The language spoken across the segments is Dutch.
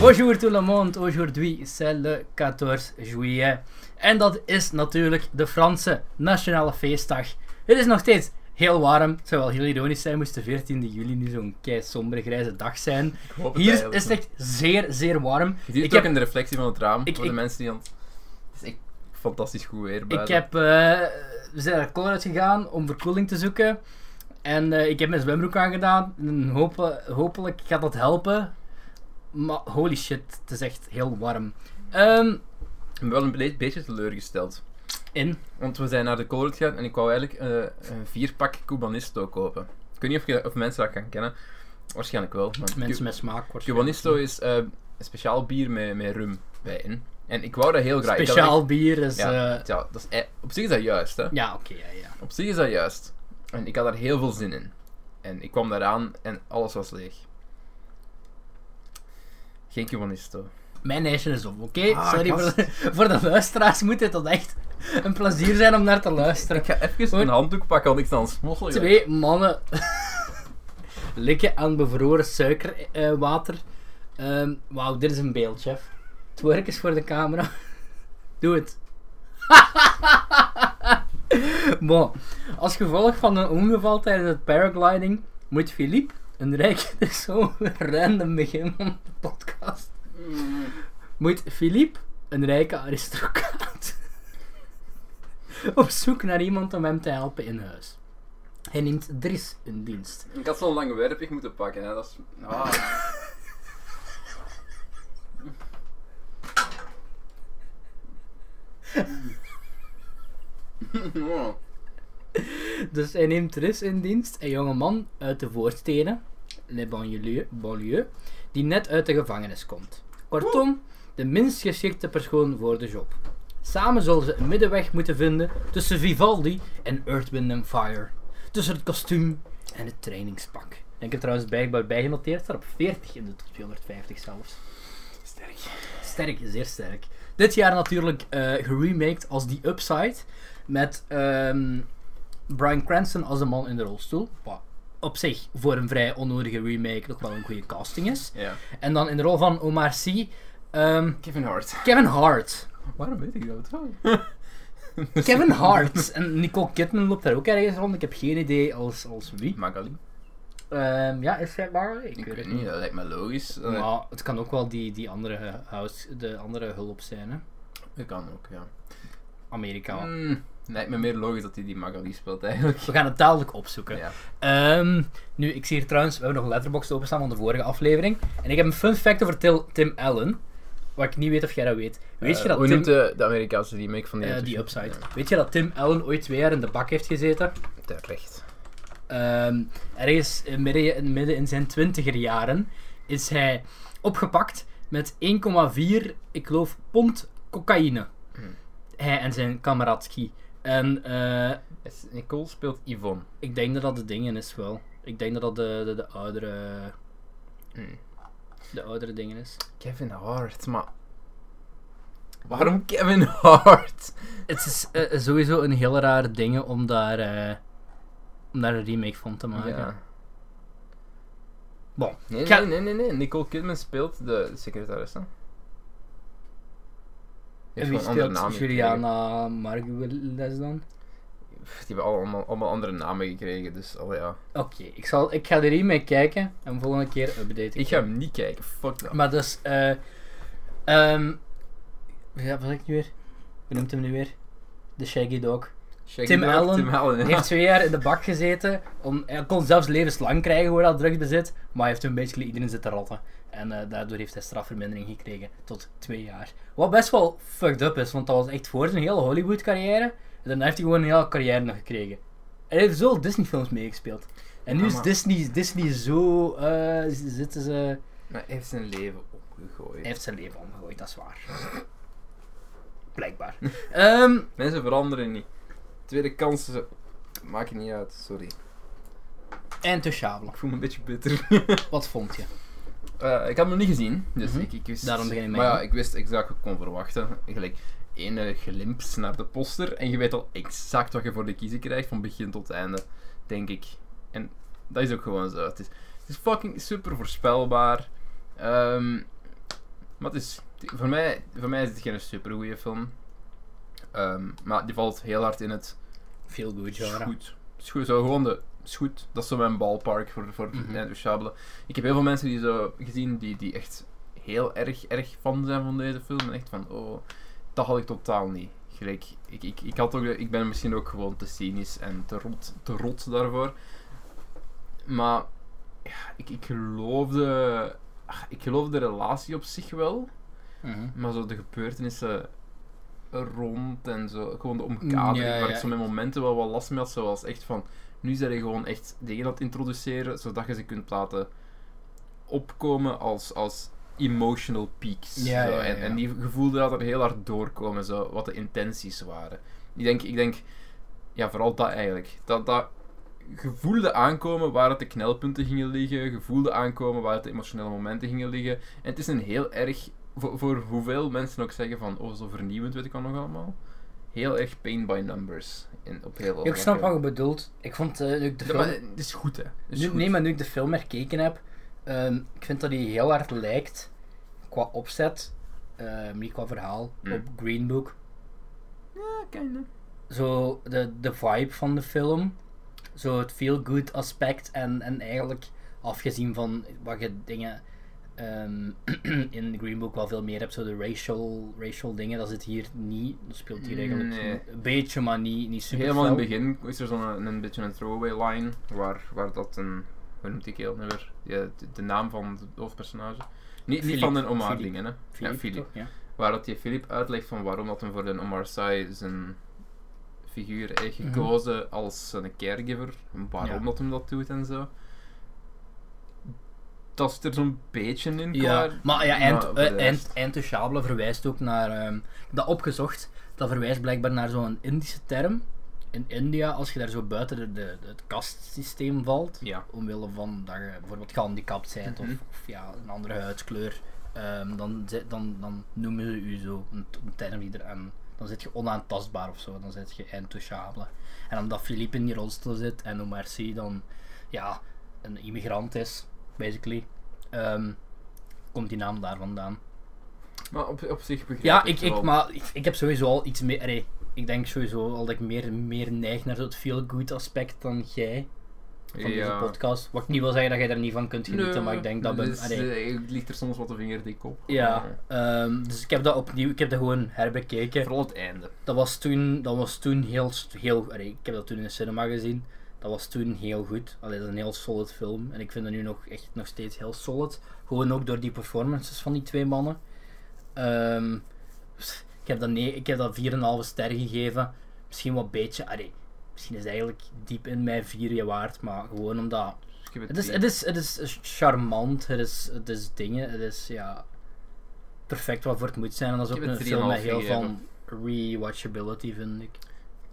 Bonjour tout le monde, aujourd'hui c'est le 14 juillet. En dat is natuurlijk de Franse Nationale Feestdag. Het is nog steeds heel warm. Het zou wel heel ironisch zijn moest de 14e juli nu zo'n kei sombere grijze dag zijn. hoop het Hier eigenlijk is het nog. echt zeer, zeer warm. Je ziet Ik het ook heb- in de reflectie van het raam, Ik- voor de ik- Dus mensen die aan het... Het is echt fantastisch goed weer Ik buiten. heb, eh, we zijn naar Colruyt gegaan om verkoeling te zoeken. En eh, ik heb mijn zwembroek aangedaan. En hope- hopelijk gaat dat helpen. Maar holy shit, het is echt heel warm. Ehm, Ik ben wel een be- beetje teleurgesteld. in. Want we zijn naar de Colruyt gegaan en ik wou eigenlijk eh, een vierpak Cubanisto kopen. Ik weet niet of, je, of mensen dat gaan kennen. Waarschijnlijk wel. Maar Mensen Cu- met smaak. wordt Cubanisto is eh, een speciaal bier met, met rum bij in. En ik wou dat heel graag. Ik had Speciaal bier is. echt- ja, Ja, ja, dat is, eh, op zich is dat juist, hè. ja oké, ja, ja. Op zich is dat juist. En ik had daar heel veel zin in. En ik kwam daaraan en alles was leeg. Geen Cubanisto. Mijn ijsje is op, oké? Ah, Sorry voor gast. de, voor de luisteraars, moet dit tot echt een plezier zijn om naar te luisteren. Ik ga even een handdoek pakken, want ik sta aan het smoffelen. Twee mannen likken aan bevroren suikerwater. Ehm, Wauw, dit is een beeld, chef. Het werk is voor de camera. Doe het. bon. Als gevolg van een ongeval tijdens het paragliding moet Philippe, een rijk persoon, random begin van de podcast. Mm, Moet Philippe, een rijke aristocraat, op zoek naar iemand om hem te helpen in huis. Hij neemt Dries in dienst. Ik had zo'n langwerpig moeten pakken, hè. Dat is... Ah. Dus hij neemt Dries in dienst, een jonge man uit de voorsteden, Le banlieue, banlieue, die net uit de gevangenis komt. Kortom, de minst geschikte persoon voor de job. Samen zullen ze een middenweg moeten vinden tussen Vivaldi en Earth, Wind and Fire. Tussen het kostuum en het trainingspak. En ik heb trouwens blijkbaar bijgenoteerd, staat op 40 in de top 250 zelfs. Sterk. Sterk, zeer sterk. Dit jaar natuurlijk eh geremaked als The Upside. Met ehm, Bryan Cranston als een man in de rolstoel. Wat op zich voor een vrij onnodige remake nog wel een goede casting is. Ja. En dan in de rol van Omar Sy, ehm, Kevin Hart. Kevin Hart. Waarom weet ik dat wel? Kevin Hart. En Nicole Kidman loopt daar ook ergens rond. Ik heb geen idee als, als wie. Magali? Ehm, ja, is zij maar? Ik, Ik weet het niet, dat lijkt me logisch. Eh, Maar het kan ook wel die, die andere, eh, house, de andere hulp zijn. Hè? Dat kan ook, ja. Amerika. Mm, lijkt me meer logisch dat hij die Magali speelt, eigenlijk. We gaan het dadelijk opzoeken. Ja. Ehm, nu, ik zie hier trouwens, we hebben nog een letterbox openstaan van de vorige aflevering. En ik heb een fun fact over Til- Tim Allen. Wat ik niet weet of jij dat weet. Weet je Eh, dat hoe Tim... noemt de, de Amerikaanse remake van die... eh, die interview? upside. Ja, Weet je dat Tim Allen ooit twee jaar in de bak heeft gezeten? terecht. Ehm, ergens in midden, in midden in zijn twintiger jaren is hij opgepakt met 1,4, ik geloof, pond cocaïne. Hmm. Hij en zijn kameraad Guy. En eh, Yes, Nicole speelt Yvonne. ik denk dat dat de dingen is wel. Ik denk dat dat de, de, de oudere... Hmm. de oudere dingen is. Kevin Hart, maar... Waarom Kevin Hart? Het is eh, sowieso een heel raar ding om daar, eh, om daar een remake van Ah, te maken. Bon. Nee, Ga- nee, nee, nee, nee. Nicole Kidman speelt de secretaresse. Die En heeft wie gewoon andere speelt namen Juliana Margulies dan? gekregen. Pff, Die hebben allemaal, allemaal andere namen gekregen, dus oh ja. Oké, ik, zal- ik ga de remake kijken en volgende keer updaten. Ik ga hem niet kijken, fuck dat. Maar dus, eh... ehm, ja, wat zeg ik nu weer? Wie noemt hem nu weer? De Shaggy Dog. Check Tim it out, Allen Tim Allen, ja. Hij heeft twee jaar in de bak gezeten. Om, hij kon zelfs levenslang krijgen hoe hij dat drugs bezit. Maar hij heeft toen basically iedereen zitten rotten. En eh, daardoor heeft hij strafvermindering gekregen tot twee jaar. Wat best wel fucked up is, want dat was echt voor zijn hele Hollywood carrière. En daarna heeft hij gewoon een hele carrière nog gekregen. En hij heeft zo Disney films meegespeeld. En nu Ja, is maar- Disney, Disney zo... eh, z- zitten ze... Maar hij heeft zijn leven opgegooid. Hij heeft zijn leven omgegooid, dat is waar. Blijkbaar. Ehm, Mensen veranderen niet. Tweede kansen maken niet uit, sorry. en Touchable. Ik voel me een beetje bitter. Wat vond je? Eh, ik had hem nog niet gezien, dus Mhm. ik, ik wist... Daarom begin ik mee. Maar ja, ik wist exact wat ik kon verwachten. Gelijk één eh, glimp naar de poster en je weet al exact wat je voor de kiezer krijgt van begin tot einde, denk ik. En dat is ook gewoon zo. Het is, het is fucking super voorspelbaar. Ehm, Maar het is, voor, mij, voor mij is het geen supergoeie film. Ehm, maar die valt heel hard in het Veel goed, is genre. goed. Is goed, zo gewoon de is goed. Dat is zo mijn ballpark voor, voor Mhm. Andrew Shabla. Ik heb heel veel mensen die zo gezien die, die echt heel erg, erg fan zijn van deze film. En echt van, oh, dat had ik totaal niet. Gelijk, ik, ik, ik, had ook, de- ik ben misschien ook gewoon te cynisch en te rot, te rot daarvoor. Maar ja, ik, ik geloofde... ah, Ik geloof de relatie op zich wel, Mhm. maar zo de gebeurtenissen rond en zo, gewoon de omkadering, Ja, waar ja. ik zo mijn momenten wel wat last mee had, zoals echt van, nu zijn je gewoon echt dingen aan het introduceren, zodat je ze kunt laten opkomen als, als emotional peaks. Ja, zo. ja, ja, En, en ja. die gevoel laten heel hard doorkomen, zo, wat de intenties waren. Ik denk, ik denk ja, vooral dat eigenlijk. Dat, dat gevoelde aankomen waar het de knelpunten gingen liggen, gevoelde aankomen waar het de emotionele momenten gingen liggen. En het is een heel erg, voor, voor hoeveel mensen ook zeggen van, oh zo vernieuwend weet ik al nog allemaal, heel erg pain by numbers in, op heel Ik snap wat je bedoelt. Ik vond eh, nu ik de Oh, Ja, film... maar het is goed hè. Het is nu, goed. nee, maar nu ik de film herkeken heb, ehm, ik vind dat hij heel hard lijkt qua opzet, ehm, niet qua verhaal, Mm. op Green Book. Ja, kinda. Zo de, de vibe van de film, zo het feel-good aspect en, en eigenlijk afgezien van wat je dingen ehm, in Green Book wel veel meer hebt, zo de racial, racial dingen, dat zit hier niet, dat speelt hier eigenlijk Nee. een beetje, maar niet, niet super Helemaal in het begin is er zo'n een, een beetje een throwaway line waar, waar dat een. Hoe noemt die heel nu weer? Ja, de, de naam van het hoofdpersonage. Niet, niet Philippe. van de Omar Philippe. dingen, hè? ja, Philippe. toch? Ja. Waar dat je Philip uitlegt van waarom dat hem voor de Omar Sy zijn figuur heeft gekozen als zijn caregiver. En waarom Mhm. Ja. dat hem dat doet en zo. Dat zit er zo'n beetje in. Ja, qua- maar ja, eind, voor de eh, eind, rest. Eintouchable verwijst ook naar. ehm, dat opgezocht, dat verwijst blijkbaar naar zo'n Indische term. In India, als je daar zo buiten de, de- het kastsysteem valt, Ja. omwille van dat je bijvoorbeeld gehandicapt bent Mhm. of, of ja, een andere huidskleur, ehm, dan, zi- dan, dan noemen ze u zo een, t- een term die eraan. Dan zit je onaantastbaar of zo, dan zit je intouchable. En omdat Philippe in die rolstoel zit en Omar Sy dan ja, een immigrant is, basically, ehm, komt die naam daar vandaan. Maar op, op zich begrijp Ja, ik, ik, ik, wel. maar ik, ik heb sowieso al iets meer. allee, ik denk sowieso al dat ik meer, meer neig naar zo het feel-good aspect dan jij van deze Ja. podcast. Wat ik niet wil zeggen dat jij daar niet van kunt genieten, maar ik denk dat Nee, ben. dus, allee, eh, het ligt er soms wat de vinger dik op. ja, Eh, ehm, dus ik heb dat opnieuw, ik heb dat gewoon herbekeken. Vooral het einde. Dat was toen, dat was toen heel, s- heel allee, ik heb dat toen in de cinema gezien. Dat was toen heel goed. Allee, dat is een heel solid film. En ik vind dat nu nog echt nog steeds heel solid. Gewoon ook door die performances van die twee mannen. Ehm, pff, ik heb dat, nee, ik heb dat 4,5 ster gegeven. Misschien wat beetje. Allee, misschien is het eigenlijk diep in mij 4 je waard. Maar gewoon omdat. Dus ik heb Het is, drie. het is, het is charmant. Het is, het is dingen. Het is ja. Perfect wat voor het moet zijn. En dat is Ik ook heb een het film met 3,5 heel veel gegeven. rewatchability, vind ik.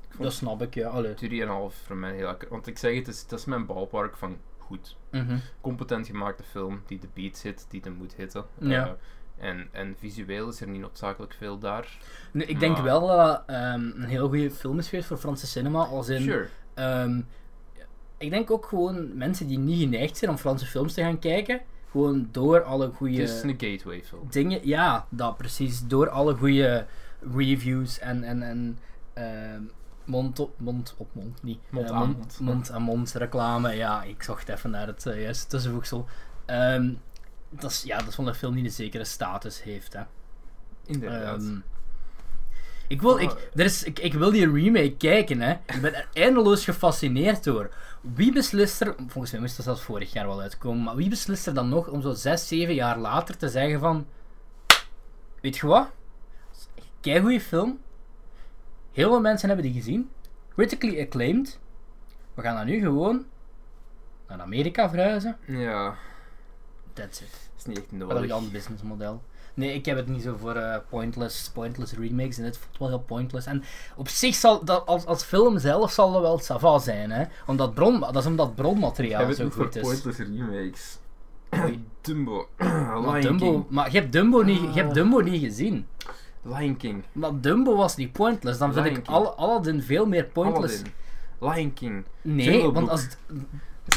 vond- Dat snap ik, ja. Allee. 3,5 voor mij heel akkoord. Want ik zeg het, is, dat is mijn ballpark van goed. Mhm. Competent gemaakte film die de beat zit, die de moet hitten. Ja. Eh, en, en visueel is er niet noodzakelijk veel daar. Nu, ik denk Maar- wel dat ehm, een heel goede film is geweest voor Franse cinema. Als in, Sure. Ehm, ik denk ook gewoon mensen die niet geneigd zijn om Franse films te gaan kijken, gewoon door alle Het is goede een gateway film. dingen, ja, dat precies, door alle goede reviews en, en, en ehm, mond op mond, op mond niet, Mond Eh, aan mond, mond. mond aan mond reclame, ja, ik zocht even naar het eh, juiste tussenvoegsel. Ehm, dat is, ja, dat is wel een film die een zekere status heeft, hè. Inderdaad. Ehm, ik, wil, ik, er is, ik, ik wil die remake kijken, hè. Ik ben er eindeloos gefascineerd door. Wie beslist er... Volgens mij moest dat zelfs vorig jaar wel uitkomen. Maar wie beslist er dan nog om zo zes, zeven jaar later te zeggen van... Weet je wat? Kijk goede film. Heel veel mensen hebben die gezien. Critically acclaimed. We gaan dat nu gewoon naar Amerika verhuizen. ja, That's it. is niet echt Maar dat is nodig. een ander businessmodel. Nee, ik heb het niet zo voor eh, pointless, pointless remakes. En dit voelt wel heel pointless. En op zich zal dat als, als film zelf zal dat wel sava zijn, hè? Omdat bron, dat is omdat Jij bronmateriaal bent zo ook voor goed is. pointless remakes. Oei. Dumbo. Lion Dumbo, King. maar je hebt Dumbo, niet, je hebt Ah. Dumbo niet gezien. Lion King. Maar Dumbo was niet pointless. Dan vind Lion ik King. Al- Aladdin veel meer pointless. Aladdin. Lion King. Nee, Jungle want Book. als.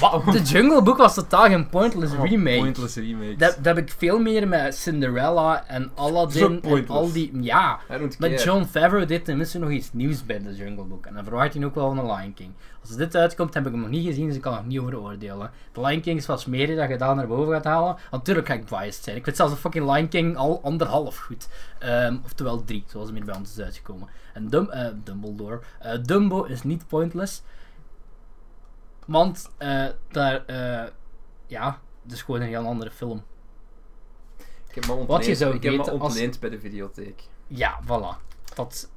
Wat? De Jungle Book was totaal geen pointless Allemaal remake. Oh, Pointless remakes. Dat, dat heb ik veel meer met Cinderella en Zo Aladdin en pointless. al die... Ja, I don't maar care. John Favreau deed tenminste nog iets nieuws bij de Jungle Book. En dan verwacht hij ook wel van The Lion King. Als dit uitkomt, heb ik hem nog niet gezien, dus ik kan er niet over oordelen. The Lion King is vast meer dat je daar naar boven gaat halen. Natuurlijk ga ik biased zijn. Ik weet zelfs de fucking Lion King al anderhalf goed. Ehm, oftewel drie, zoals het meer bij ons is uitgekomen. En Dum eh, Dumbledore. Eh, Dumbo is niet pointless. Want eh, daar... eh, ja, het is gewoon een heel andere film. Ik heb me Wat je ontleend, zou ik heb me weten als- ontleend bij de videotheek. Ja, voilà. Dat,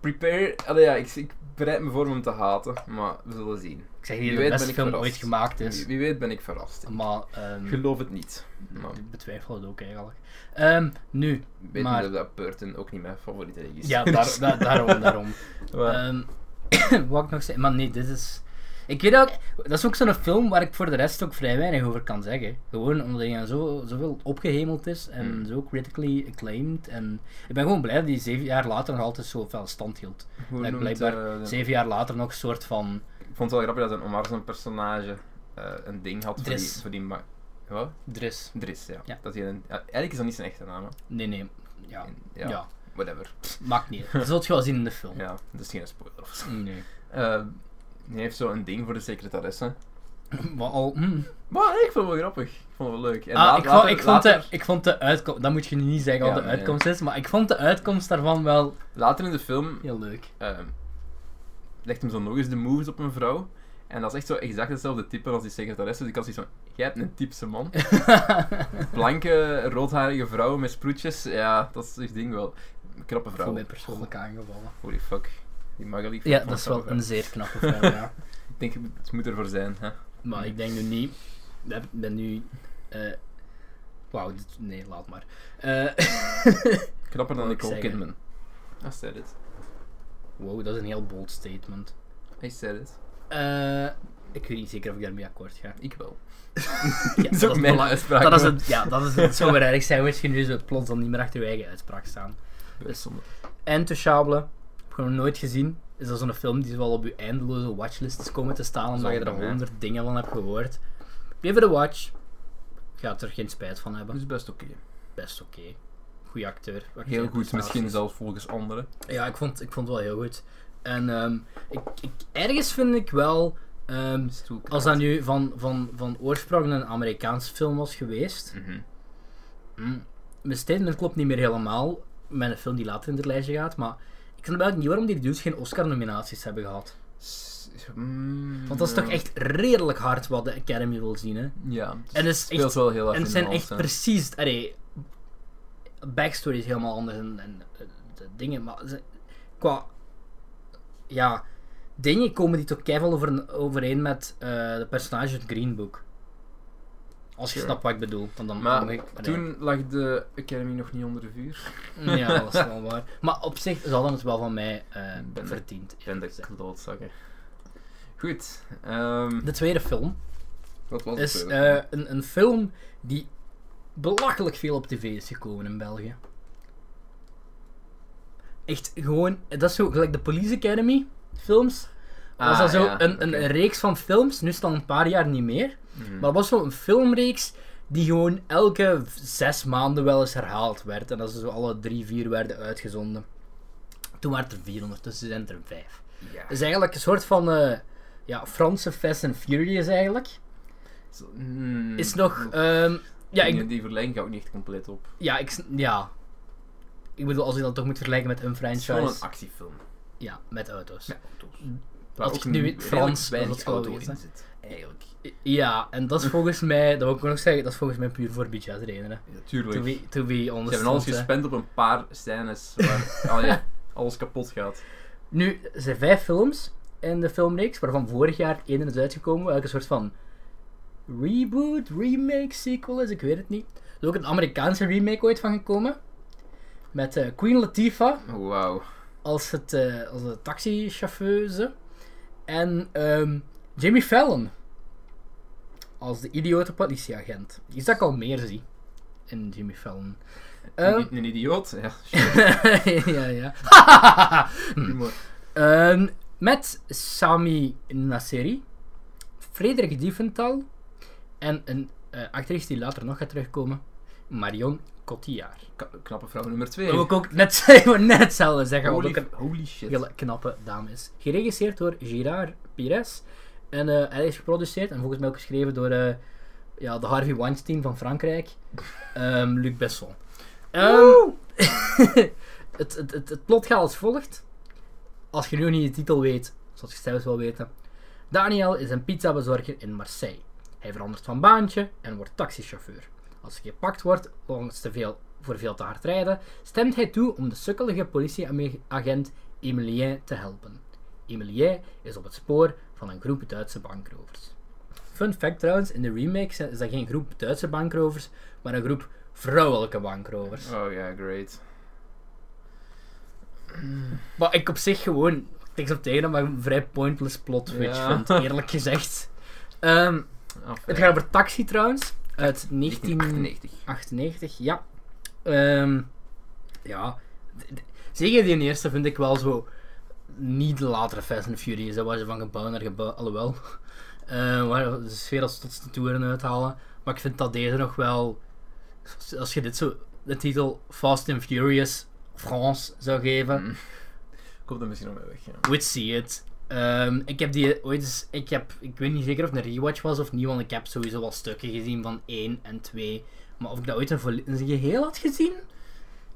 Prepare... Allee, ja, ik, ik bereid me voor om hem te haten, maar we zullen zien. ik zeg Wie niet dat de weet beste ben ik film verrast. ooit gemaakt is. Wie, wie weet ben ik verrast. Ik Maar ehm, geloof het niet. Maar ik betwijfel het ook eigenlijk. Ehm, nu, weet Maar- maar... dat Burton ook niet mijn favoriete regisseur ja, daar, daar- daarom, daarom. is. Maar- Ehm, wat ik nog zeggen, maar nee, dit is... Ik weet ook, dat is ook zo'n film waar ik voor de rest ook vrij weinig over kan zeggen. Gewoon omdat hij zo, zoveel opgehemeld is en Hmm. zo critically acclaimed. En ik ben gewoon blij dat hij zeven jaar later nog altijd zo fel stand hield. Hoe dat ik noemt, blijkbaar eh, de- Zeven jaar later nog een soort van... Ik vond het wel grappig dat een Omar zijn personage eh, een ding had voor Driss. die... Voor die ma- Wat? Er is... Dris, ja. Ja. Dat hij een, ja, eigenlijk is dat niet zijn echte naam. hè. Nee, nee. Ja. En- Ja. ja, Whatever. Maakt niet uit. Dat zult je wel zien in de film. Ja, dat is geen spoiler of zo. Nee. Eh, hij heeft zo een ding voor de secretaresse. Maar al... hmm. Maar ik vond het wel grappig. Ik vond het wel leuk. En Ah, la- ik, vond, later- ik, vond de, later- ik vond de uitkomst, dat moet je nu niet zeggen wat Ja, de nee. uitkomst is, maar ik vond de uitkomst daarvan wel Later in de film heel leuk. ehm, legt hem zo nog eens de moves op een vrouw. En dat is echt zo exact hetzelfde type als die secretaresse. Dus ik had zoiets van, jij hebt een typische man. Blanke, roodharige vrouw met sproetjes. Ja, dat is het ding wel. Knappe Voor vrouw. mij persoonlijk aangevallen. Holy fuck. Die mag ik Ja, dat is wel een zeer knappe vrouw, ja. Ik denk, het moet ervoor zijn, hè. Maar ik denk nu niet, ik heb- ben nu, eh wauw, dit- nee, laat maar. Eh, Knapper dan Wou ik Nicole zeggen. Kidman. I said it. wow, dat is een heel bold statement. I said it. Eh, ik weet niet zeker of ik daarmee akkoord ga. Ik wel. Ja, dat is ook mijn belang- uitspraak. dat is het, ja, dat is het. Het zou wel erg zijn, als je nu zo plots dan niet meer achter je eigen uitspraak staan. Best zonde. Intouchable. Heb ik nog nooit gezien. Is dat zo'n film die wel op je eindeloze watchlist is komen te staan, omdat je er Zonde, hè? honderd dingen van hebt gehoord. Give it a watch. Gaat er geen spijt van Dat hebben. is best oké. Best oké. Goeie acteur. Wat Heel zijn goed, misschien prestaties. zelfs volgens anderen. Ja, ik vond, ik vond het wel heel goed. En ehm, ik, ik, ergens vind ik wel, ehm, als dat nu van, van, van oorsprong een Amerikaans film was geweest, Mhm. Mm. Mijn statement klopt niet meer helemaal met een film die later in het lijstje gaat, maar ik snap eigenlijk niet waarom die dudes geen Oscar-nominaties hebben gehad. S- mm, Want dat is toch echt redelijk hard wat de Academy wil zien, hè? Ja, het En het is speelt echt- wel heel En erg in het de zijn hand, echt hè. precies... Allee, backstory is helemaal anders en, en eh, de dingen, maar ze- qua... Ja, dingen komen die toch keihard over, overeen met eh, de personages uit Green Book. Als je Sure. snapt wat ik bedoel, want dan Maar moet ik... allee. Toen lag de Academy nog niet onder de vuur. Ja, dat is wel waar. Maar op zich, ze hadden het wel van mij eh, Ik ben- verdiend. Ik ben de eerlijk gezegd. klootzakken. Goed. ehm, De tweede film wat was is het? eh, een, een film die belachelijk veel op tv is gekomen in België. Echt gewoon, dat is zo gelijk de Police Academy films. Was Ah, dat zo ja, een, een, oké. een reeks van films, nu is het al een paar jaar niet meer. Mhm. Maar het was zo'n filmreeks die gewoon elke v- zes maanden wel eens herhaald werd. En dat ze zo alle drie, vier werden uitgezonden. Toen waren het er vier, ondertussen zijn het er vijf. Ja. is eigenlijk een soort van eh, ja, Franse Fast and Furious eigenlijk. Zo- mm, Is nog. nog ehm, ja, dingen ik, Die verlenging gaat ook niet echt compleet op. ja, ik, s- ja. Ik bedoel, als je dat toch moet vergelijken met een Het is gewoon een franchise. actiefilm. Ja, met auto's. Met auto's. Als ik nu in het Frans- dat weinig zou auto wezen. in zit. Eigenlijk. Ja, en dat is volgens mij, dat wil ik ook nog zeggen, dat is volgens mij puur voor budgetredenen. hè. Ja, tuurlijk. To be, to be honest. Ze hebben alles want, eh, gespend op een paar scènes waar allee, alles kapot gaat. Nu, er zijn vijf films in de filmreeks, waarvan vorig jaar één is uitgekomen, welke soort van reboot, remake, sequel is, ik weet het niet. Er is ook een Amerikaanse remake ooit van gekomen, met eh, Queen Latifah Wauw. als, het, eh als de taxichauffeuse en ehm, Jimmy Fallon als de idiote politieagent. Iets dat ik al meer zie in Jimmy Fallon. Ehm, Een, een idioot. Ja, ja, ja. humor. Ehm, met Sami Nasseri. Frederik Dieventhal en een eh, actrice die later nog gaat terugkomen, Marion Cotillard. Ka- Knappe vrouw nummer Wou 2. ik ook net, zeggen, wou net hetzelfde zeggen, want Holy, ook een holy shit. hele knappe dame is. Geregisseerd door Girard Pires en eh, hij is geproduceerd en volgens mij ook geschreven door eh, ja, de Harvey Weinstein van Frankrijk, ehm, Luc Besson. Ehm, het, het, het, het plot gaat als volgt. Als je nu niet de titel weet, zoals je zelfs wel weten. Daniel is een pizzabezorger in Marseille. Hij verandert van baantje en wordt taxichauffeur. Als hij gepakt wordt volgens te veel, voor veel te hard rijden, stemt hij toe om de sukkelige politieagent Emilien te helpen. Emilien is op het spoor van een groep Duitse bankrovers. Fun fact trouwens, in de remake zijn- is dat geen groep Duitse bankrovers, maar een groep vrouwelijke bankrovers. Oh ja, great. Wat ik op zich gewoon, niks op tegen, maar een vrij pointless plot switch Ja. vind, eerlijk gezegd. Ehm, Enfin, het gaat over Taxi trouwens, uit 1998, 1998. ja. Ehm, ja, d- d- zeker die eerste vind ik wel zo niet de latere Fast and Furious, hè, waar ze van gebouw naar gebouw, alhoewel, eh, waar de sfeer als tot de toeren uithalen, maar ik vind dat deze nog wel, als je dit zo, de titel Fast and Furious France zou geven, Mm. Komt er misschien nog mee weg, ja. Would see it. Ehm, ik heb die ooit eens, ik, heb, ik weet niet zeker of het een rewatch was of niet, want ik heb sowieso wel stukken gezien van 1 en 2. Maar of ik dat ooit in, volle- in zijn geheel had gezien?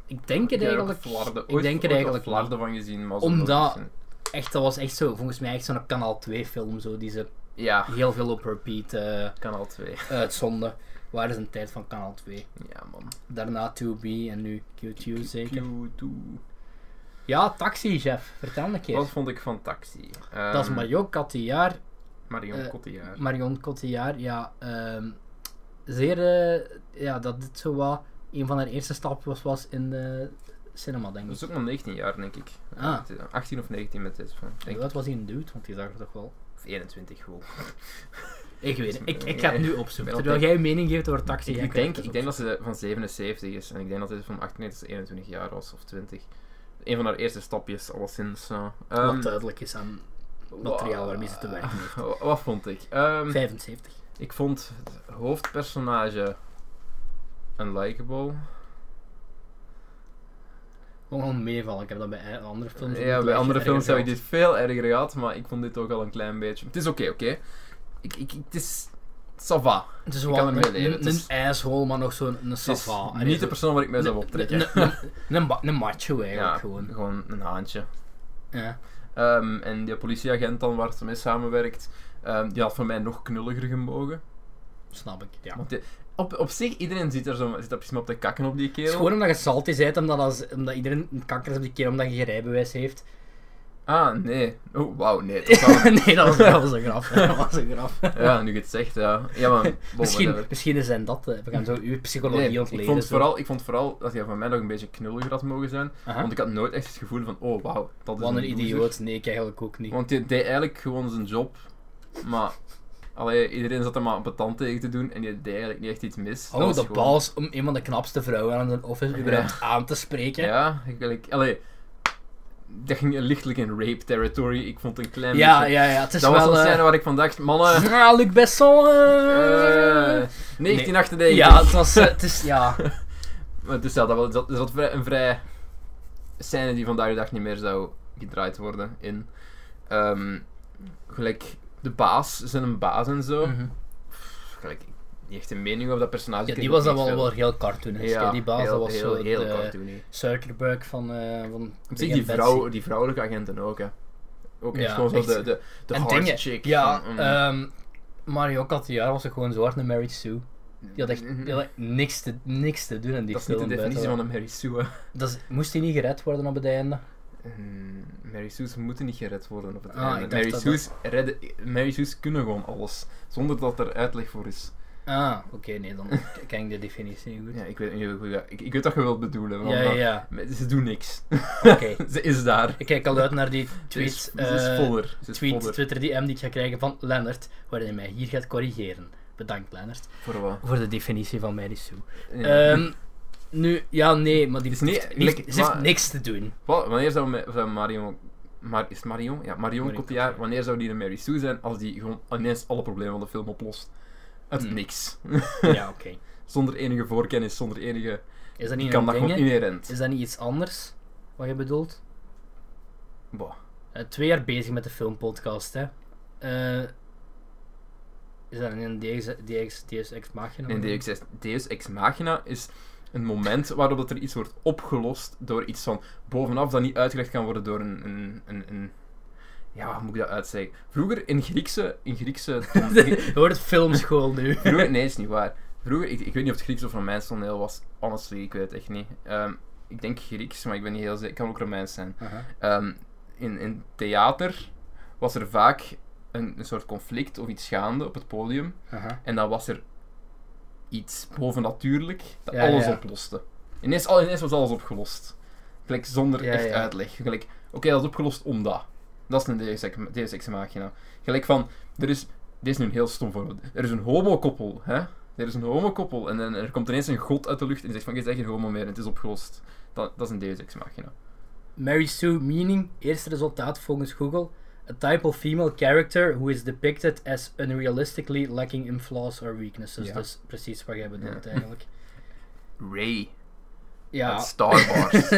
Ik denk het Ik heb er ook eigenlijk. flarden- ik ooit- denk het ooit eigenlijk. wel flarden van gezien, maar zo Omdat- nooit gezien. niet. Echt, dat was echt zo, volgens mij echt zo'n kanaal 2 film, zo, die ze Ja, heel veel op repeat eh kanaal 2. uitzonden. Waar is een tijd van kanaal 2? Ja, man. Daarna 2B en nu QQ zeker. Q2. Ja, Taxi Chef, vertel een keer. Wat vond ik van Taxi? Ehm, Dat is Mario Cotillard Marion eh, Cotillard. Marion Cotillard, ja, ehm, zeer, eh, ja, dat dit zo wat een van haar eerste stappen was, was in de cinema, denk Dat ik. is ook nog 19 jaar, denk ik. Ah. Eh, 18 of 19 met dit film. Denk ik. Dat was hij een dude, want die zag er toch wel. Of 21 gewoon. Ik weet het, ik, ik ga het nu opzoeken. Ik ben Terwijl jij een mening geeft over taxi. Ik, ga ik denk, het ik denk dat opzoeken. ze van 77 is. En ik denk dat dit van 98 tot 21 jaar was, of 20. Een van haar eerste stapjes, alleszins. zo. Ehm, Wat duidelijk is aan materiaal waarmee ze te werken heeft. wa- Wat vond ik? Ehm, 75. Ik vond het hoofdpersonage unlikable. Gewoon al meevallen, ik heb dat bij eh, andere films ook Ja, niet bij echt andere erger films heb ik gehad. dit veel erger gehad, maar ik vond dit ook al een klein beetje. Het is oké, oké. Ik, ik, ik- het is. Ça va. Het is ik wel kan een, ermee leven. een, Het een is- asshole, maar nog zo'n een Het is sava. niet de persoon waar ik mij zou optrekken. Een ba- een macho eigenlijk, ja, gewoon. een haantje. Ja. Ehm, en die politieagent dan waar ze mee samenwerkt, ehm, die had voor mij nog knulliger gemogen. Snap ik, ja. Want die- op, op zich, iedereen zit er, zo, zit er precies maar op te kakken op die Het kerel. is gewoon omdat je salty bent, omdat, als, omdat iedereen een kanker is op die keer omdat je geen rijbewijs heeft. Ah, nee. Oh, wauw, nee. dat zou- nee, dat was, dat was een grap. Dat was een grap. ja, nu je het zegt, ja. Ja, maar... bon, misschien, whatever. misschien zijn dat... eh, We gaan zo uw psychologie Nee, ontleden. ik, vond zo. vooral, ik vond vooral dat hij van mij nog een beetje knulliger had mogen zijn. Aha. Want ik had nooit echt het gevoel van, oh wauw, dat is Wat een loser. idioot. Nee, ik eigenlijk ook niet. Want hij deed eigenlijk gewoon zijn job. Maar allee, iedereen zat hem maar op het tand tegen te doen en die deed eigenlijk niet echt iets mis. Oh, Dat was de gewoon- baas om een van de knapste vrouwen aan zijn office überhaupt aan te spreken. Ja, Ja, ik, ik, allee, dat ging lichtelijk in rape territory. Ik vond het een klein ja, beetje... ja, Het is dus- dat was wel... een eh, scène waar ik van dacht, mannen... ah, Luc Besson! eh. eh, 1998. ja, het was... eh, het is... Ja. Maar dus ja, dat was, dat, dus dat vrij- een vrij scène die vandaag de dag niet meer zou gedraaid worden in. Ehm, gelijk de baas, zijn baas en zo. Mhm. Gelijk, niet echt een mening over dat personage. Ja, ik die weet was dan niet wel, veel. wel heel cartoonisch. Ja, hè. Dus die baas, heel, dat was heel, zo eh, heel de cartoony. Zuckerberg van... eh van Op zich, Big die, Bad vrouw, die vrouwelijke agenten ook, hè. Ook echt Ja, gewoon zo echt. de, de, de En hard dingen. chick. Ja, van, mm, ehm Mario Cotillard was ook gewoon zo hard naar Mary Sue. Die had echt, die had echt niks, te, niks te doen in die Mhm. film. Mm-hmm. dat is niet de definitie buiten van een Mary Sue. hè. dat. Dat is- moest hij niet gered worden op het einde? Mm, Mary Sue's moeten niet gered worden op het Ah, ik einde. dacht Mary dat Sue's, redden, Mary Sue's kunnen gewoon alles, zonder dat er uitleg voor is. Ah, oké, nee, dan k- ken ik de definitie niet goed. Ja, ik, weet, niet hoe- ja, ik, ik weet wat je wilt bedoelen. want Ja, ja, ja. dat- Ze doen niks. Oké. ze is daar. Ik kijk al uit naar die Ze is, tweet, ze is eh, voller. Ze is tweet voller. Twitter DM die ik ga krijgen van Lennart, waarin hij mij hier gaat corrigeren. Bedankt, Lennart, Voor wat? voor de definitie van Mary Sue. Ja. Ehm, nu, ja, nee, maar die Het is niet- heeft- die heeft- like, ze heeft maar- niks te doen. Wat- wanneer zou, Ma- zou Mario Maar is het Marion? Ja, Marion, Marion Cotillard. Cotillard. Wanneer zou die een Mary Sue zijn als die gewoon ineens alle problemen van de film oplost? Uit Hmm. niks. Ja, oké. zonder enige voorkennis, zonder enige... Is dat Die niet kan een dat gewoon ding? hè? inherent. Is dat niet iets anders? Wat je bedoelt? Boah. Eh, twee jaar bezig met de filmpodcast, hè. Eh, is dat een DX, DX, DX Ex Machina? En Deus Ex, Deus Ex Machina is een moment waarop dat er iets wordt opgelost door iets van bovenaf dat niet uitgelegd kan worden door een... een, een, een- ja, hoe moet ik dat uitzeggen? Vroeger in Griekse... In Griekse Het wordt filmschool nu. Vroeger, nee, is niet waar. Vroeger, ik, ik weet niet of het Grieks of Romeins toneel was. Honestly, ik weet het echt niet. Ehm, ik denk Grieks, maar ik ben niet heel zeker. Het kan ook Romeins zijn. Aha. Ehm, in, in theater was er vaak een, een soort conflict of iets gaande op het podium. Aha. En dan was er iets bovennatuurlijk dat Ja, alles ja. oploste. Ineens, al, ineens was alles opgelost. Gelijk zonder Ja, echt ja. uitleg. Gelijk, oké, dat is opgelost omdat. Dat is een Deus Ex- Deus Ex Machina. Gelijk van, er is... Dit is nu een heel stom voorbeeld. Er is een homokoppel, hè? Er is een homokoppel en, dan er komt ineens een god uit de lucht en zegt van, je bent geen homo meer en het is opgelost. Dat, dat is een Deus Ex Machina. Mary Sue meaning, eerste resultaat volgens Google. A type of female character who is depicted as unrealistically lacking in flaws or weaknesses. Ja. Dus precies wat jij bedoelt Ja. eigenlijk. Ray. Ja. Uit Star Wars.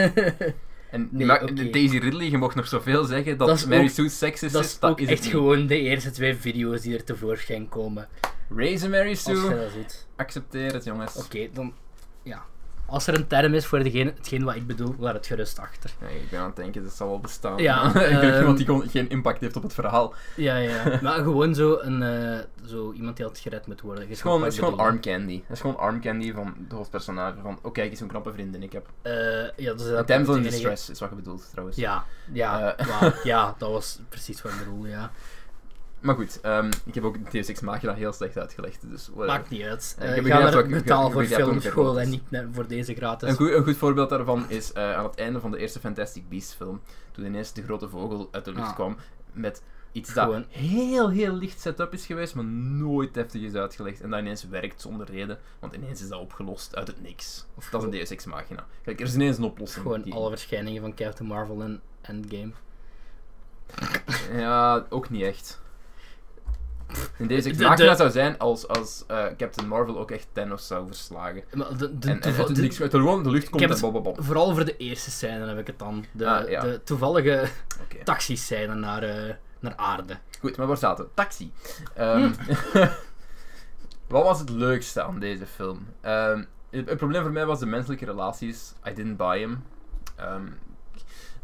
En Nee, maar, oké. Daisy Ridley, je mocht nog zoveel zeggen dat, Dat is Mary ook- Sue seks is. dat is ook het echt niet. gewoon de eerste twee video's die er tevoorschijn komen. Raise a Mary Als je Sue. dat ziet. Accepteer het, jongens. Oké, dan... Ja. Als er een term is voor degene, hetgeen wat ik bedoel, laat het gerust achter. Nee, ik ben aan het denken, dat zal wel bestaan. Ja, ik denk ehm, iemand die gewoon geen impact heeft op het verhaal. Het Ja, ja. ja. maar gewoon zo, een, eh, zo iemand die had gered moet worden. Je is snapt gewoon, wat het ik is gewoon bedoel. arm candy. Het is gewoon arm candy van de hoofdpersonage. Van, oh kijk eens zo'n knappe vriendin ik heb. Eh, ja, dus Dat dat Damsel in het enige- distress is wat je bedoelt, trouwens. Ja, ja, Eh. wauw, ja, dat was precies wat ik bedoel, ja. Maar goed, ehm, ik heb ook Deus Ex Machina heel slecht uitgelegd, dus whatever. Maakt niet uit. Ja, ik Eh, heb ik ga begrepen er wat ik- betaal ik voor begrijp wat ik filmschool bedoel. en niet net voor deze gratis. Een goed, een goed voorbeeld daarvan is eh, aan het einde van de eerste Fantastic Beasts film, toen ineens de grote vogel uit de lucht Ah. kwam met iets dat Gewoon- heel, heel licht setup is geweest, maar nooit heftig is uitgelegd. En dat ineens werkt zonder reden, want ineens is dat opgelost uit het niks. Of dat is een gewoon- Deus Ex Machina. Kijk, er is ineens een oplossing. Gewoon die- alle verschijningen van Captain Marvel en Endgame. Ja, ook niet echt. Een Deus Ex De- Machina de- zou zijn als, als eh, Captain Marvel ook echt Thanos zou verslagen. Maar de, de, en, en toeval- uit het de- niks, uit de, gewoon de lucht komt heb en het- bababam. Oké. Vooral voor de eerste scène heb ik het dan. De, Ah, ja. de toevallige taxiscène naar, eh, naar aarde. Goed, maar waar zaten we? Taxi. Ehm, Hmm. wat was het leukste aan deze film? Ehm, het, het probleem voor mij was de menselijke relaties. I didn't buy him. Ehm,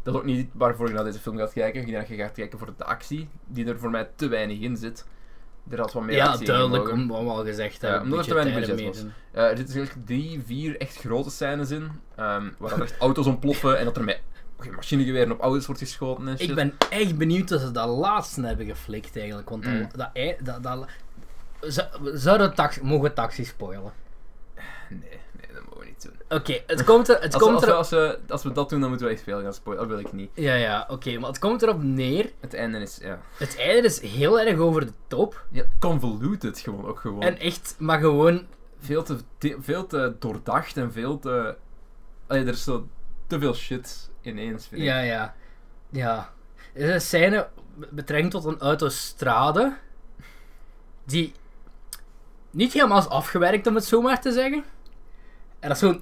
dat is ook niet waarvoor je naar deze film gaat kijken. Ik denk dat je gaat kijken voor de actie, die er voor mij te weinig in zit. Er had wat meer ja, actie in duidelijk, gemogen. om, wat we al gezegd eh, Ja, hebben. omdat er te Budget weinig daar budget mee Eh, er zitten eigenlijk drie, vier echt grote scènes in. ehm, waar er echt auto's ontploffen en dat er met machinegeweren op auto's wordt geschoten en doen. shit. Ik ben echt benieuwd dat ze dat laatste hebben geflikt eigenlijk. Want dat- Mm. dat, ei- dat, dat, Zou- we zouden taxi, mogen we taxi spoilen? Nee, nee, dat mogen we niet doen. Oké, het komt er. Het Als, we- komt als, er we, als, we, als we dat doen, dan moeten we echt veel gaan spoilen. Dat wil ik niet. Ja, ja, oké, maar het komt erop neer. Het einde is, ja... Het einde is heel erg over de top. ja convoluted gewoon ook gewoon. En echt, maar gewoon. Veel, te, te- veel te doordacht en veel te... Allee, er is zo te veel shit ineens, vind ik. Ja, ja. Ja. Er is een scène be- betrekking tot een autostrade. Die niet helemaal is afgewerkt, om het zo maar te zeggen. En dat is zo'n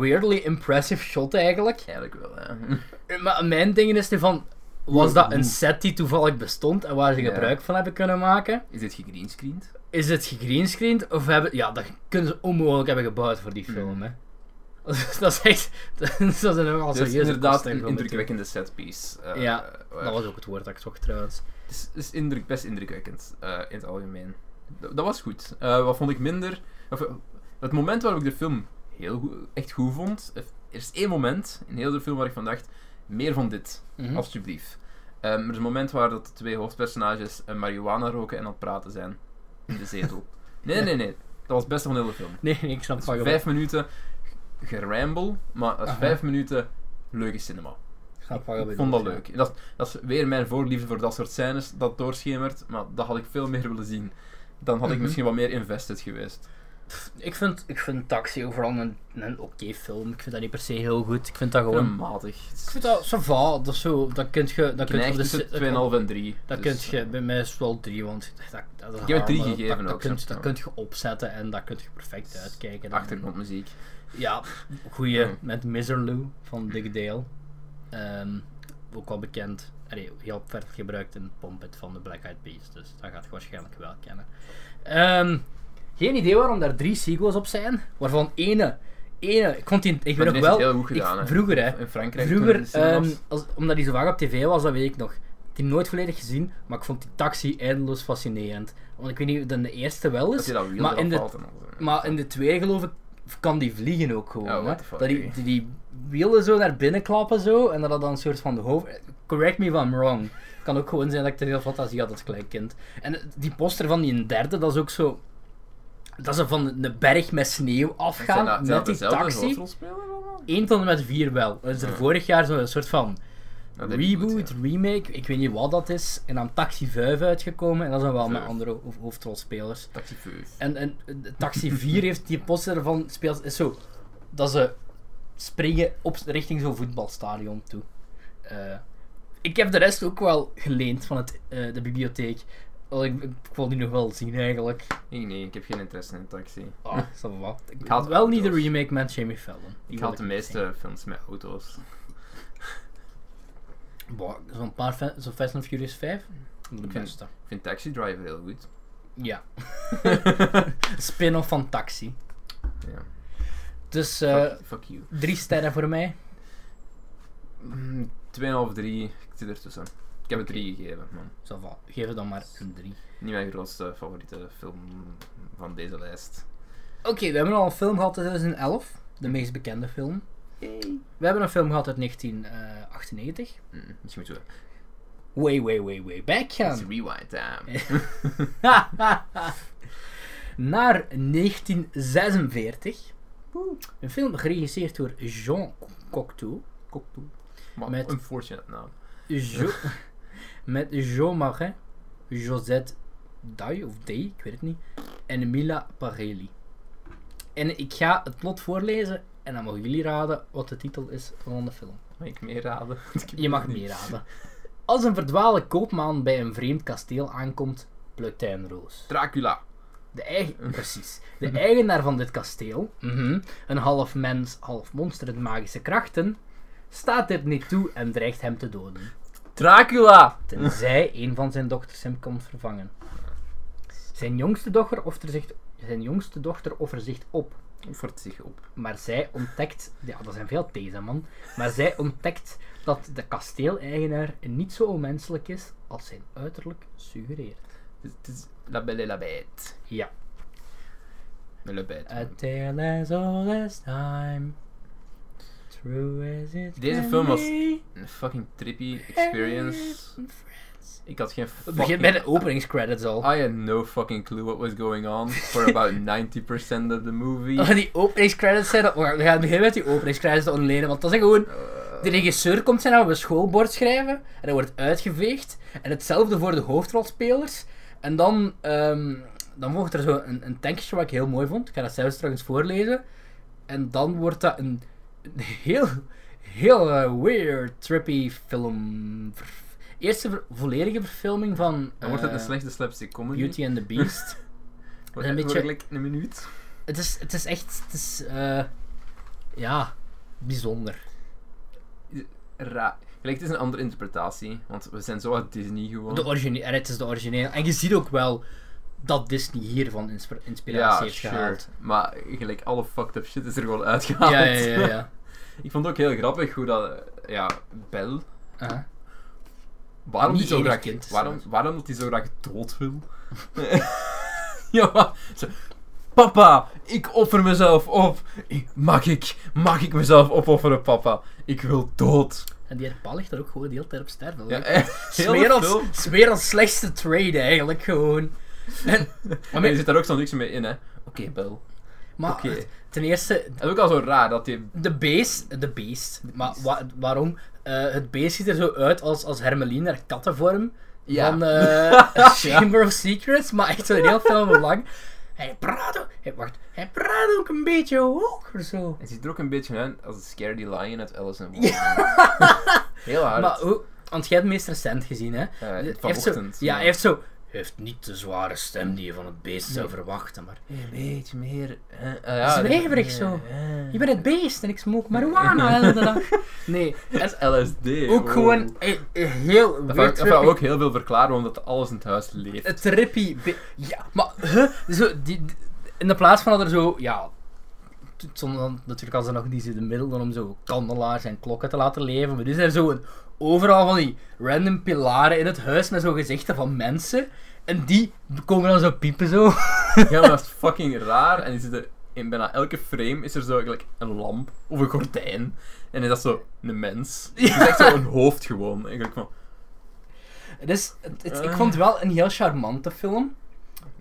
weirdly impressive shot eigenlijk. Eigenlijk wel, ja. Maar mijn ding is die van. Was dat een set die toevallig bestond en waar ze Ja. gebruik van hebben kunnen maken? Is dit gegreenscreend? Is het gegreenscreend of hebben... Ja, dat kunnen ze onmogelijk hebben gebouwd voor die film, hè. dat is echt... Dat is een nogal Het is serieuze inderdaad kosten een voor me toe. indrukwekkende setpiece. eh, Ja, waar- Dat was ook het woord dat ik zocht, trouwens. Het is, het is indruk, best indrukwekkend, eh, in het algemeen. Dat, dat was goed. Eh, wat vond ik minder... Of, eh, het moment waarop ik de film heel goed, echt goed vond... eh, Er is één moment in heel de film waar ik van dacht... Meer van dit. Mhm. Alsjeblieft. Ehm, er is een moment waar dat de twee hoofdpersonages een marihuana roken en aan het praten zijn. In de zetel. Nee, nee, nee. Dat was het beste van de hele film. Nee, nee, ik snap Dat is van vijf minuten geramble, maar dat is Aha. vijf minuten leuke cinema. snap wat je Ik bedoelt, vond dat ja. leuk. En Dat, dat is weer mijn voorliefde voor dat soort scènes dat doorschemert, maar dat had ik veel meer willen zien. Dan had ik Mhm. misschien wat meer invested geweest. Pff, Ik vind, ik vind Taxi overal een, een oké film. Ik vind dat niet per se heel goed. Ik vind dat Gewoon gewoon... matig. Ik vind dat, ça va, dat is zo, dat kunt je, dat kunt je, Knecht op de tussen si- 2,5 en Dus, eh, 3. dat kunt je, bij mij is het wel drie, want dat, dat is Ik heb het drie raar, maar gegeven dat, ook, dat, kunt, snap dat je. kunt je opzetten en dat kunt je perfect uitkijken. Dan- Achtergrondmuziek. Ja, goeie, Ja. met Miserloo van Dick Dale. Ehm, ook wel bekend, allee, heel ver gebruikt in Pump It van de Black Eyed Peas, dus dat gaat je waarschijnlijk wel kennen. Ehm, geen idee waarom daar drie sequels op zijn, waarvan ene, ene, ik vond die, ik weet Maar ook die heeft wel, het heel goed ik- gedaan, hè. vroeger hè, In Frankrijk. toen in de Vroeger, cinemas. ehm, als, omdat die zo vaak op tv was, dat weet ik nog. Ik heb die nooit volledig gezien, maar ik vond die taxi eindeloos fascinerend. Want ik weet niet of dat in de eerste wel dat is, je dat wiel maar in, de, eraf valt en eh, alles. maar in de tweede geloof ik kan die vliegen ook gewoon. Oh, what hè. the fuck, dat die, oké. die, die wielen zo naar binnen klappen zo, en dat dat dan een soort van de hoofd... Correct me if I'm wrong. Kan ook gewoon zijn dat ik te veel fantasie had als klein kind. En die poster van die derde, dat is ook zo... Dat ze van de berg met sneeuw Zijn dat- afgaan, zijn dat met die dezelfde taxi. hoofdrolspelers allemaal? Eén van de met vier wel. Er is er Ja. vorig jaar zo'n soort van Ja, de reboot, ja. remake, ik weet niet wat dat is. En dan Taxi 5 uitgekomen en dat zijn wel met Vijf. andere ho- hoofdrolspelers. Taxi Fuf. En, en eh, Taxi 4 heeft die poster van speelt is zo dat ze springen op richting zo'n voetbalstadion toe. Eh, ik heb de rest ook wel geleend van het, eh, de bibliotheek. Want Ik, ik, ik wil die nog wel zien eigenlijk. Nee, nee, ik heb geen interesse in een taxi. Ah, ça va. Ik haat had wel niet de auto's. remake met Jamie Fallon. Die Ik wil haal de niet zien. meeste films met auto's. Boah, zo'n paar fa- zo'n Fast and Furious 5. De vind- bekendste. Ik vind Taxi Driver heel goed. Ja. Spin-off van Taxi. Ja. Dus eh, fuck, fuck you. drie sterren voor mij. Mm, 2,5, 3. Ik zit ertussen. Ik heb het 3 gegeven, man. Zo van, geef het dan maar een drie. Niet mijn grootste favoriete film van deze lijst. Oké, we hebben al een film gehad uit 2011. De meest bekende film. Yay. We hebben een film gehad uit 1998. Mm, misschien moeten we... Way, way, way, way back It's gaan. rewind Eh, time. Naar 1946. Een film geregisseerd door Jean Cocteau. Cocteau. Wat Met- een unfortunate naam. Jo met Jean Marin, Josette Day of Day, ik weet het niet, en Mila Parelli. En ik ga het plot voorlezen en dan mogen jullie raden wat de titel is van de film. Mag ik meer raden? Je mag meer raden. Als een verdwaalde koopman bij een vreemd kasteel aankomt, plukt hij een roos. Dracula. De, eigen, precies. de eigenaar van dit kasteel, mhm, een half mens, half monster met magische krachten, staat dit niet toe en dreigt hem te doden. Dracula! Tenzij een van zijn dochters hem komt vervangen. Zijn jongste dochter offert zich, zijn jongste dochter offert zich op. Offert zich op. Maar zij ontdekt... Ja, dat zijn veel thezen, man. Maar zij ontdekt dat de kasteeleigenaar niet zo onmenselijk is als zijn uiterlijk suggereert. Het is- het is La Belle et la Bête. Ja. De La Bête. A tale as old as time. True as it Deze can film was be. Een fucking trippy experience. Ik had geen Het begint bij fucking... de openingscredits al. I had no fucking clue what was going on for about 90% of the movie. Oh, die openingscredits zijn... We gaan- we gaan beginnen met die openingscredits te ontlenen, want dat zijn gewoon... Eh, De regisseur komt zijn naam op een schoolbord schrijven en dat wordt uitgeveegd. En hetzelfde voor de hoofdrolspelers. En dan, ehm, dan volgt er zo een, een tekstje wat ik heel mooi vond. Ik ga dat zelfs straks voorlezen. En dan wordt dat een, een heel, heel eh, weird, trippy film. Eerste ver- volledige verfilming van Dan wordt het een eh, slechte slapstick comedy. Beauty and the Beast. Wordt een het beetje- werkelijk een minuut. het, is, het is echt, het is, eh, ja, bijzonder. Ra Gelijk, het is een andere interpretatie, want we zijn zo uit Disney gewoon. De origineel, en het is de origineel. En je ziet ook wel dat Disney hiervan insp- inspiratie heeft gehaald. Maar gelijk, alle fucked up shit is er gewoon Ja, uitgehaald. ja, ja. ja. Ik vond het ook heel grappig hoe dat, eh, ja, Bel, Aha. waarom Niet die zo enig graag, kind is waarom, dat. waarom dat die zo graag dood wil. ja, maar, zo, papa, ik offer mezelf op. Ik- Mag ik, mag ik mezelf opofferen, papa? Ik wil dood. En die herpaal ligt er ook gewoon de hele tijd op sterven. Ja, Ja, eh, heel de film. Smerels, Smerels slechtste trade eigenlijk gewoon. En, Maar maar- je zit daar ook zo'n niks mee in, hè? Oké, Bel. maar Oké. ten eerste, Het is ook al zo raar dat die de beest, de beest, maar wa- waarom? Eh, het beest ziet er zo uit als, als Hermeline naar kattenvorm Ja. van eh, Chamber of Secrets, maar echt zo een heel veel lang. Hij praat ook... Hij, wacht, hij praat ook een beetje hoog of zo. Het ziet er ook een beetje uit als de Scaredy Lion uit Alice in Wonderland. Heel hard. Maar hoe... Want jij hebt het meest recent gezien, hè? Eh, Hij heeft zo- vanochtend. ja, hij heeft zo... Hij heeft niet de zware stem die je van het beest zou verwachten, maar... Een beetje meer... eh, ah, ja, Zweverig zo. eh, Je bent het beest en ik smoke marijuana elke dag. Nee, Dat is LSD. ook wow. gewoon eh, eh, heel Dat weird gaat dat gaat trippy- ook heel veel verklaren waarom dat alles in het huis leeft. een trippy... be- Ja, maar... Huh? Zo, die, die- in de plaats van dat er zo... Ja... t- Zonder, dan- natuurlijk als er nog die de middelen om zo kandelaars en klokken te laten leven. Maar dus er zo een, overal van die random pilaren in het huis met zo gezichten van mensen. En die komen dan zo piepen zo. Ja, maar dat is fucking raar. En die zitten in bijna elke frame is er zo eigenlijk een lamp of een gordijn. En is dat zo een mens. Het is echt zo een hoofd gewoon. En ik denk van, Dus het, het- ik Eh. vond het wel een heel charmante film.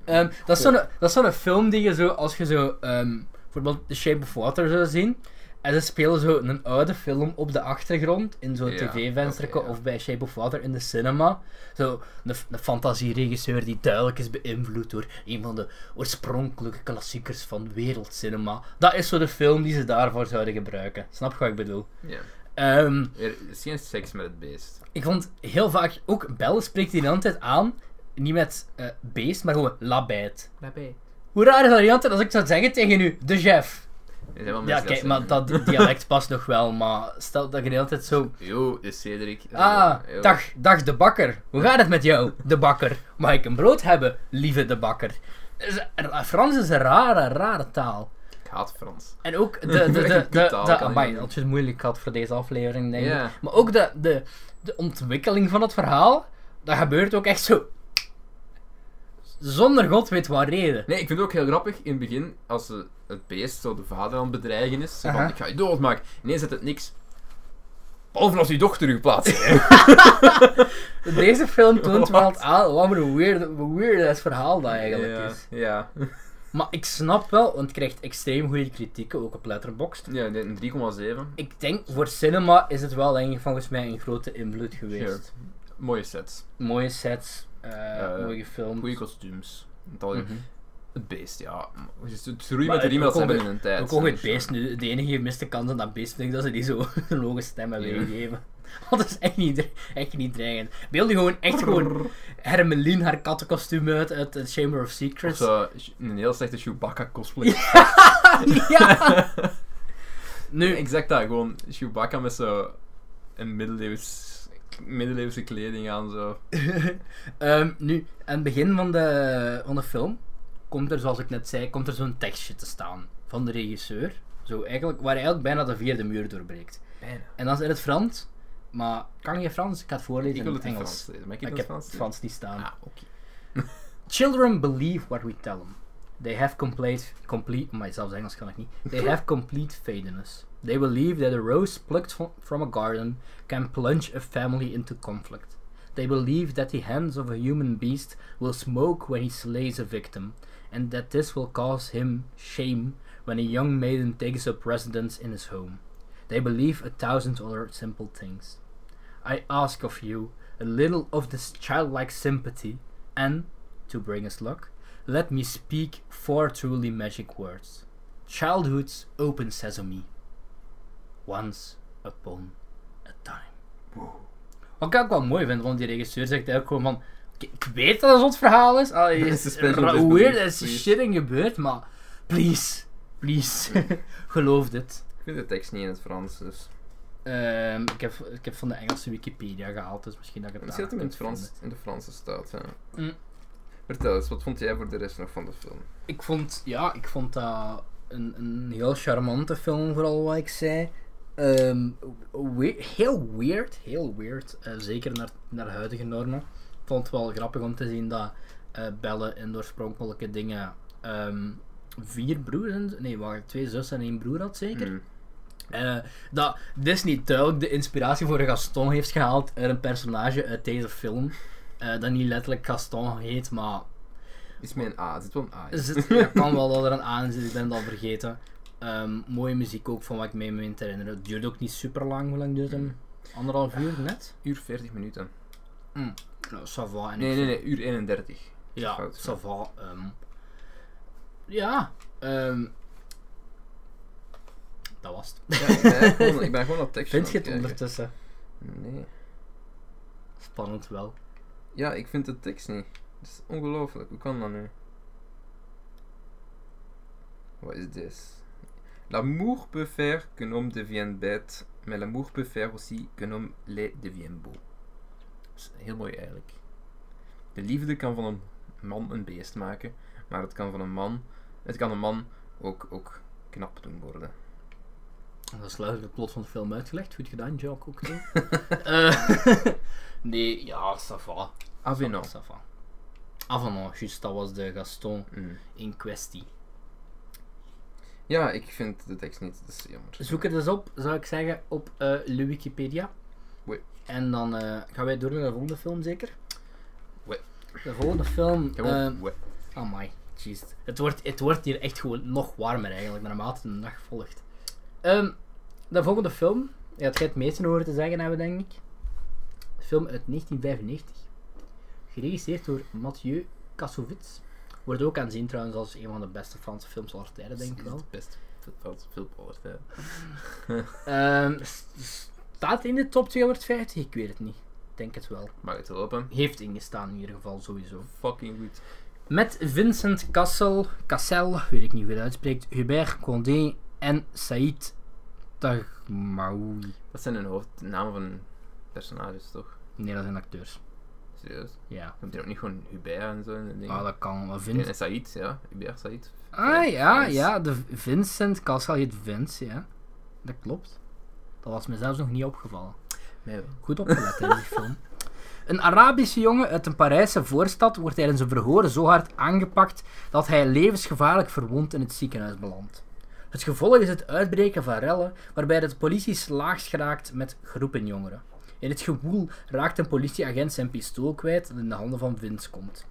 Ehm, dat, is zo'n, dat is zo'n film die je zo, als je zo ehm, bijvoorbeeld The Shape of Water zou zien. En ze spelen zo een oude film op de achtergrond, in zo'n Ja, tv-vensterke oké, ja. of bij Shape of Water in de cinema. Zo een, f- een fantasieregisseur die duidelijk is beïnvloed door een van de oorspronkelijke klassiekers van wereldcinema. Dat is zo de film die ze daarvoor zouden gebruiken. Snap je wat ik bedoel? ja. Ehm, Er is geen seks met het beest. ik vond heel vaak, ook Belle spreekt die de hele tijd aan, niet met eh, beest, maar gewoon labijt. Daarbij. Hoe raar is dat niet altijd als ik zou zeggen tegen u, de chef? Ja, kijk, maar maar dat di- dialect past nog wel, maar stel dat je de hele tijd zo... Yo, dit is Cedric. Ah, Yo. dag, dag de bakker. Hoe gaat het met jou, de bakker? Mag ik een brood hebben, lieve de bakker? Is- ra- Frans is een rare, rare taal. Ik haat Frans. En ook de... de, de, Echt de, een de, kuttaal, de- kan amai, ik. dat is moeilijk gehad voor deze aflevering, denk ik. Ja. Maar ook de, de, de ontwikkeling van het verhaal, dat gebeurt ook echt zo... Zonder god weet wat reden. Nee, ik vind het ook heel grappig in het begin, als ze het beest, zo de vader aan het bedreigen is, zo van, Aha. ik ga je doodmaken. Ineens zet het niks. Behalve als je dochter u plaatst. Deze film toont wel Wat? aan wat een weird, weird ass verhaal dat eigenlijk ja, is. Ja. Maar ik snap wel, want het krijgt extreem goede kritieken, ook op Letterboxd. Ja, een 3,7. Ik denk, voor cinema is het wel denk ik volgens mij een grote invloed geweest. Mooie sets. Mooie sets, eh Eh, mooie films. Goede kostuums. Het al- Mhm. Het beest, ja. Het is het groeien Maar met de riem ook dat ze al hebben de- in een tijd. Ook al het Dus, beest nu, de enige gemiste kans aan dat beest vind ik dat ze die zo een hoge stem hebben Ja. gegeven. Want dat is echt niet, dre- echt niet dreigend. Beeld je gewoon echt gewoon Hermeline haar kattenkostuum uit uit The Chamber of Of Secrets. zo, een heel slechte Chewbacca cosplay. ja! nu, Exact dat, gewoon Chewbacca met zo een middeleeuws, middeleeuwse kleding aan. Zo. ehm, nu, aan het begin van de, van de film komt er, zoals ik net zei, komt er zo'n tekstje te staan van de regisseur. Zo eigenlijk, waar hij eigenlijk bijna de vierde muur doorbreekt. Bijna. En dat is in het Frans, maar kan je Frans? Ik ga het voorlezen Ik in wil het het in Engels. Frans lezen, maar ik Maar heb ik het heb Frans. Frans, lezen. niet staan. Ah, oké. Children believe what we tell them. They have complete, complete, maar zelfs Engels kan ik niet. They have complete faith in us. They believe that a rose plucked fro- from a garden can plunge a family into conflict. They believe that the hands of a human beast will smoke when he slays a victim, and that this will cause him shame when a young maiden takes up residence in his home. They believe a thousand other simple things. I ask of you a little of this childlike sympathy, and, to bring us luck, let me speak four truly magic words. Childhood's open sesame. Once upon a time. Wat ik ook wel mooi vind, want die regisseur zegt eigenlijk gewoon van... "Oké, Ik weet dat het een zot verhaal is. Allee, het is Suspension ra- disbelief, weird, er is please. shit in gebeurd, maar... Please, please, geloof dit. Ik vind de tekst niet in het Frans, dus. Ehm, ik, heb, ik heb van de Engelse Wikipedia gehaald, dus misschien dat ik het Misschien dat daar hem in, kunt het Frans, vinden. in de Franse staat. Ja. Mm. Vertel eens, wat vond jij voor de rest nog van de film? Ik vond, ja, ik vond dat een, een heel charmante film, vooral wat ik zei. Ehm, we- heel weird, heel weird, eh, zeker naar, naar huidige normen. Ik vond het wel grappig om te zien dat eh, Belle in de oorspronkelijke dingen ehm, vier broers, en, nee, wacht, twee zussen en één broer had zeker. Mm. Eh, dat Disney duidelijk de inspiratie voor Gaston heeft gehaald uit een personage uit deze film. Eh, dat niet letterlijk Gaston heet, maar Is mijn A, het zit wel een A. in. er zit, ja, kan wel dat er een aan zit, ik ben het al vergeten. Ehm, mooie muziek ook, van wat ik me meen te herinneren. Het duurde ook niet super lang, hoe lang duurt hem? Anderhalf uur net? Uur 40 minuten. Nou, ça va. En ik Nee, nee, vind- nee, uur 31. Ja, Fout. ça va. ehm. Ja, ehm, dat was het. Ja, ik, ben echt gewoon, ik ben gewoon op tekst. Vind je aan het ondertussen? kijken. Nee. Spannend wel. Ja, ik vind de tekst niet. Dat is ongelooflijk. Hoe kan dat nu? Wat is dit? L'amour peut faire qu'un homme devienne bête, mais l'amour peut faire aussi qu'un homme laid devienne beau. Dat is heel mooi eigenlijk. De liefde kan van een man een beest maken, maar het kan van een man, het kan een man ook, ook knap doen worden. Dat is luidelijk het plot van de film uitgelegd. Goed gedaan, Jock. Ook heel. Eh, nee, ja, ça va. Avenant. Ça va. Avenant, juist, dat was de Gaston Mm. in kwestie. Ja, ik vind de tekst niet. Dat is jammer. Zoek het eens op, zou ik zeggen, op eh, de Wikipedia. Oui. En dan eh, gaan wij door naar de volgende film, zeker? Oui. De volgende film... Gewoon, eh, ouais. Amai, jeez. Het wordt, het wordt hier echt gewoon nog warmer eigenlijk, naarmate de dag volgt. Ehm, de volgende film, ja, het gaat het meeste horen te zeggen hebben, denk ik. Een film uit 1995. Geregisseerd door Mathieu Kassovitz. Wordt ook aanzien trouwens als een van de beste Franse films aller tijden, denk ik wel. Best veel, veel power, hè. Ehm, s- s- staat in de top 250? Ik weet het niet. Ik denk het wel. Maar het open. Heeft ingestaan in ieder geval, sowieso. Fucking goed. Met Vincent Cassel, Cassel, weet ik niet hoe je dat uitspreekt, Hubert Condé en Saïd Tagmaoui. Dat zijn hun hoofdnamen van personages, toch? Nee, dat zijn acteurs. Serieus? Ja. Komt er ook niet gewoon Hubert en zo en dingen? Ah, dat kan wel. en, Vin- en Said, ja. Hubert Said. Ah ja, Frans. ja, de Vincent Cassel heet Vince, ja. Dat klopt. Dat was me zelfs nog niet opgevallen. Nee, Goed opgelet in die film. Een Arabische jongen uit een Parijse voorstad wordt tijdens een verhoor zo hard aangepakt dat hij levensgevaarlijk verwond in het ziekenhuis belandt. Het gevolg is het uitbreken van rellen, waarbij de politie slaags geraakt met groepen jongeren. In het gewoel raakt een politieagent zijn pistool kwijt dat in de handen van Vince komt.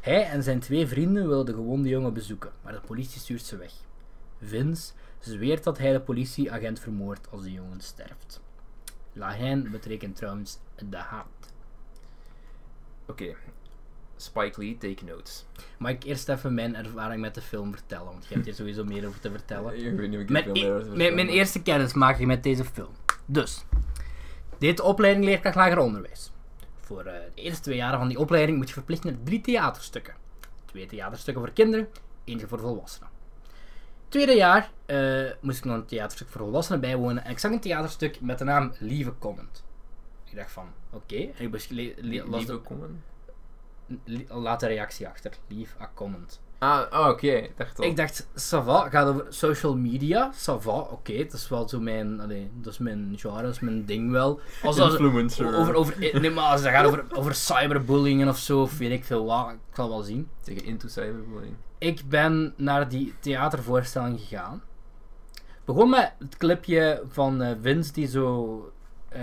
Hij en zijn twee vrienden willen de gewonde jongen bezoeken, maar de politie stuurt ze weg. Vince zweert dat hij de politieagent vermoordt als de jongen sterft. La haine betekent trouwens de haat. Oké. Spike Lee, take notes. Mag ik eerst even mijn ervaring met de film vertellen? Want je hebt hier sowieso meer over te vertellen. Ik weet niet of ik Mijn, veel e- meer over mijn, mijn vertel, eerste kennismaking met deze film. Dus, dit opleiding leerkracht lager onderwijs. Voor eh, de eerste twee jaren van die opleiding moet je verplicht naar drie theaterstukken. Twee theaterstukken voor kinderen, eentje voor volwassenen. Tweede jaar eh, moest ik nog een theaterstuk voor volwassenen bijwonen en ik zag een theaterstuk met de naam Lieve Comment. Ik dacht van, oké, en ik bes- le- maar- le- Lie- las Lieve de- Common? li- laat een reactie achter. Leave a comment. Ah, ah, oké. Ik dacht al. Ik dacht, Sava gaat over social media. Sava, oké, het is wel zo mijn, allee, dat is mijn genre, dat is mijn ding wel. Als dat Influencer. over, over, eh, nee, maar als dat gaat over, over cyberbullying of zo, of weet ik veel wat, ik zal wel zien. Tegen Into Cyberbullying. Ik ben naar die theatervoorstelling gegaan. Begon met het clipje van eh, Vince die zo eh,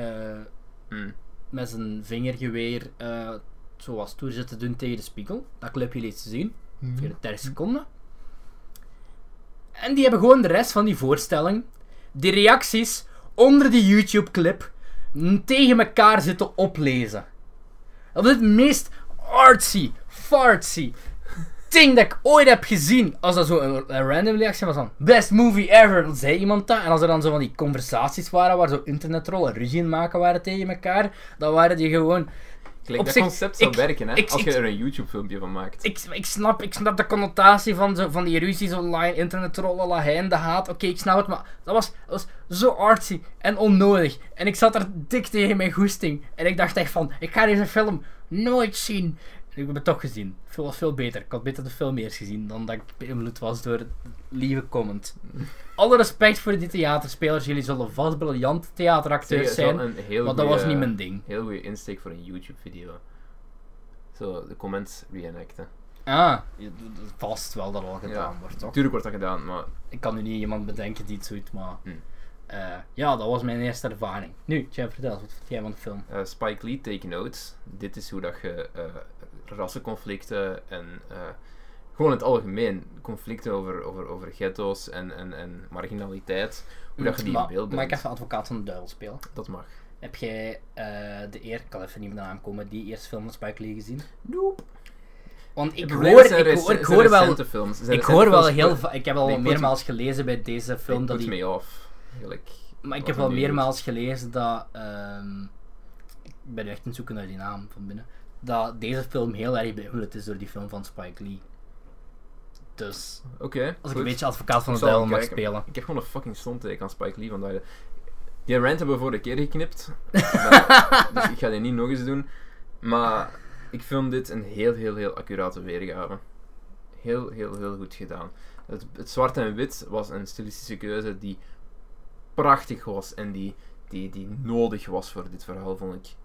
Mm. met zijn vingergeweer eh zo was toer zit te doen tegen de spiegel. Dat clipje liet ze zien. Ongeveer 30 seconden. En die hebben gewoon de rest van die voorstelling, die reacties onder die YouTube-clip, n- tegen elkaar zitten oplezen. Dat is het meest artsy, fartsy ding dat ik ooit heb gezien. Als dat zo een, een random reactie was van best movie ever, dan zei iemand dat. En als er dan zo van die conversaties waren waar zo internetrollen ruzie in maken waren tegen elkaar, dan waren die gewoon Kijk, Op dat zich, concept zou ik- werken, hè. ik- als je ik- er een YouTube-filmpje van maakt. ik, ik, snap, ik snap de connotatie van, zo, van die ruzies online, internetrollen, lahein, de haat. Oké, ik snap het, maar dat was, dat was zo artsy en onnodig. En ik zat er dik tegen mijn goesting. En ik dacht echt van, ik ga deze film nooit zien. En ik heb het toch gezien. Het was veel beter. Ik had beter de film eerst gezien dan dat ik beïnvloed was door het lieve comment. Alle respect voor die theaterspelers. Jullie zullen vast briljante Zeg, theateracteurs dat is wel zijn. een heel Maar dat was goeie- niet mijn ding. Heel goede insteek voor een YouTube-video. Zo, de comments reenacten. Ah, vast wel dat al gedaan wordt, toch? Natuurlijk wordt dat gedaan, maar ik kan nu niet iemand bedenken die iets doet, maar Hmm. eh, ja, dat was mijn eerste ervaring. Nu, Jeff, vertel, wat vind jij van de film? eh, Spike Lee, take notes. Dit is hoe dat je eh, rassenconflicten en eh, gewoon in het algemeen conflicten over, over, over ghetto's en, en, en marginaliteit, hoe dat je die Ma- in beeld Mag ik brengt. even advocaat van de duivel spelen? Dat mag. Heb jij eh, de eer, ik kan even niet meer naam komen, die eerste film van Spike Lee gezien? Nope. Want ik Het hoor, probleem ik, zijn rec- hoor, ik zijn hoor wel, recente films. Zijn ik recente hoor wel films heel put- va- Ik heb al Ik moet- meermaals gelezen bij deze film put dat die. me off. Eigenlijk. Maar ik wat heb hij wel nu meermaals gelezen dat. ehm, ik ben echt aan het zoeken naar die naam van binnen. Dat deze film heel erg beïnvloed is door die film van Spike Lee. Dus doet. Oké. als ik goed. een beetje advocaat van Ik de zal duivel hem mag kijken. spelen. Ik heb gewoon een fucking stomteek aan Spike Lee vandaag. Die rant hebben we vorige keer geknipt. dus ik ga die niet nog eens doen. Maar ik film dit een heel, heel, heel accurate weergave. Heel, heel, heel goed gedaan. Het, het zwart en wit was een stilistische keuze die prachtig was en die, die, die nodig was voor dit verhaal, vond ik.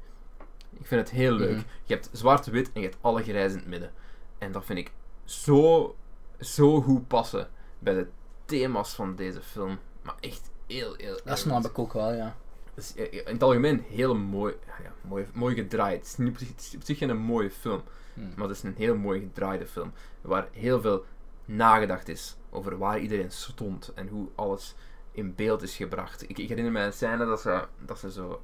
Ik vind het heel leuk. Mhm. Je hebt zwart-wit en je hebt alle grijs in het midden. En dat vind ik zo, zo goed passen bij de thema's van deze film. Maar echt heel, heel... heel Dat snap ik ook wel, ja. dus, eh, eh, in het algemeen heel mooi, ja, mooi, mooi gedraaid. Het is, niet op zich, het is op zich geen mooie film, Hmm. Hm. maar het is een heel mooi gedraaide film. Waar heel veel nagedacht is over waar iedereen stond en hoe alles in beeld is gebracht. Ik, ik herinner me een scène dat ze, dat ze zo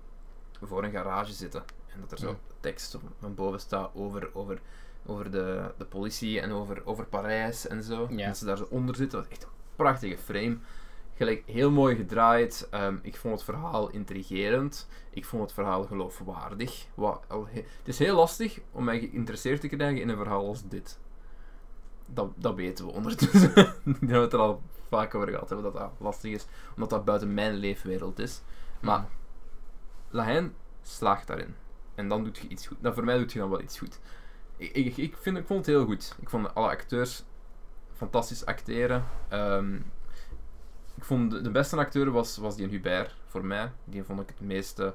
voor een garage zitten en dat er zo Hmm. tekst op- van boven staat over, over, over de, de politie en over, over Parijs en zo. Ja. En dat ze daar zo onder zitten. Dat is echt een prachtige frame. Gelijk, heel mooi gedraaid. Ehm, ik vond het verhaal intrigerend. Ik vond het verhaal geloofwaardig. Wat al he- het is heel lastig om mij geïnteresseerd te krijgen in een verhaal als dit. Dat, dat weten we ondertussen. Ik denk dat we het er al vaak over gehad hebben dat dat lastig is. Omdat dat buiten mijn leefwereld is. Maar Lahain slaagt daarin. En dan doet je iets goed. Nou, voor mij doet je dan wel iets goed. Ik, ik, ik, vind, ik vond het heel goed. Ik vond alle acteurs fantastisch acteren. Ehm, ik vond de, de beste acteur was, was die in Hubert, voor mij. Die vond ik het meeste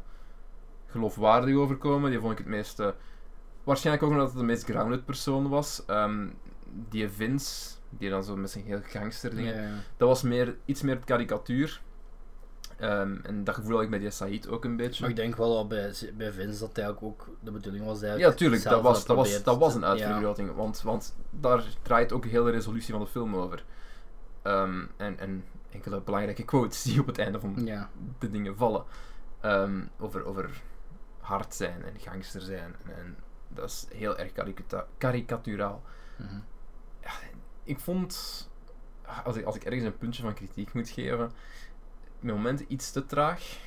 geloofwaardig overkomen. Die vond ik het meeste... Waarschijnlijk ook omdat het de meest grounded persoon was. Ehm, die Vince, die dan zo met zijn heel gangster dingen... Ja, ja. Dat was meer, iets meer het karikatuur. Ehm, en dat gevoel had ik met die Said ook een beetje. Maar ik denk wel dat bij, bij Vince dat eigenlijk ook de bedoeling was. dat hij Ja, tuurlijk, dat zelf was, dat, was, probeert dat was te- een uitvergroting. Want, want daar draait ook de hele resolutie van de film over. Ehm, en, en enkele belangrijke quotes die op het einde van Ja. ja. de dingen vallen. Ehm, over, over hard zijn en gangster zijn. En dat is heel erg karikata- karikaturaal. Mhm. Ik vond, als ik, als ik ergens een puntje van kritiek moet geven, met momenten iets te traag.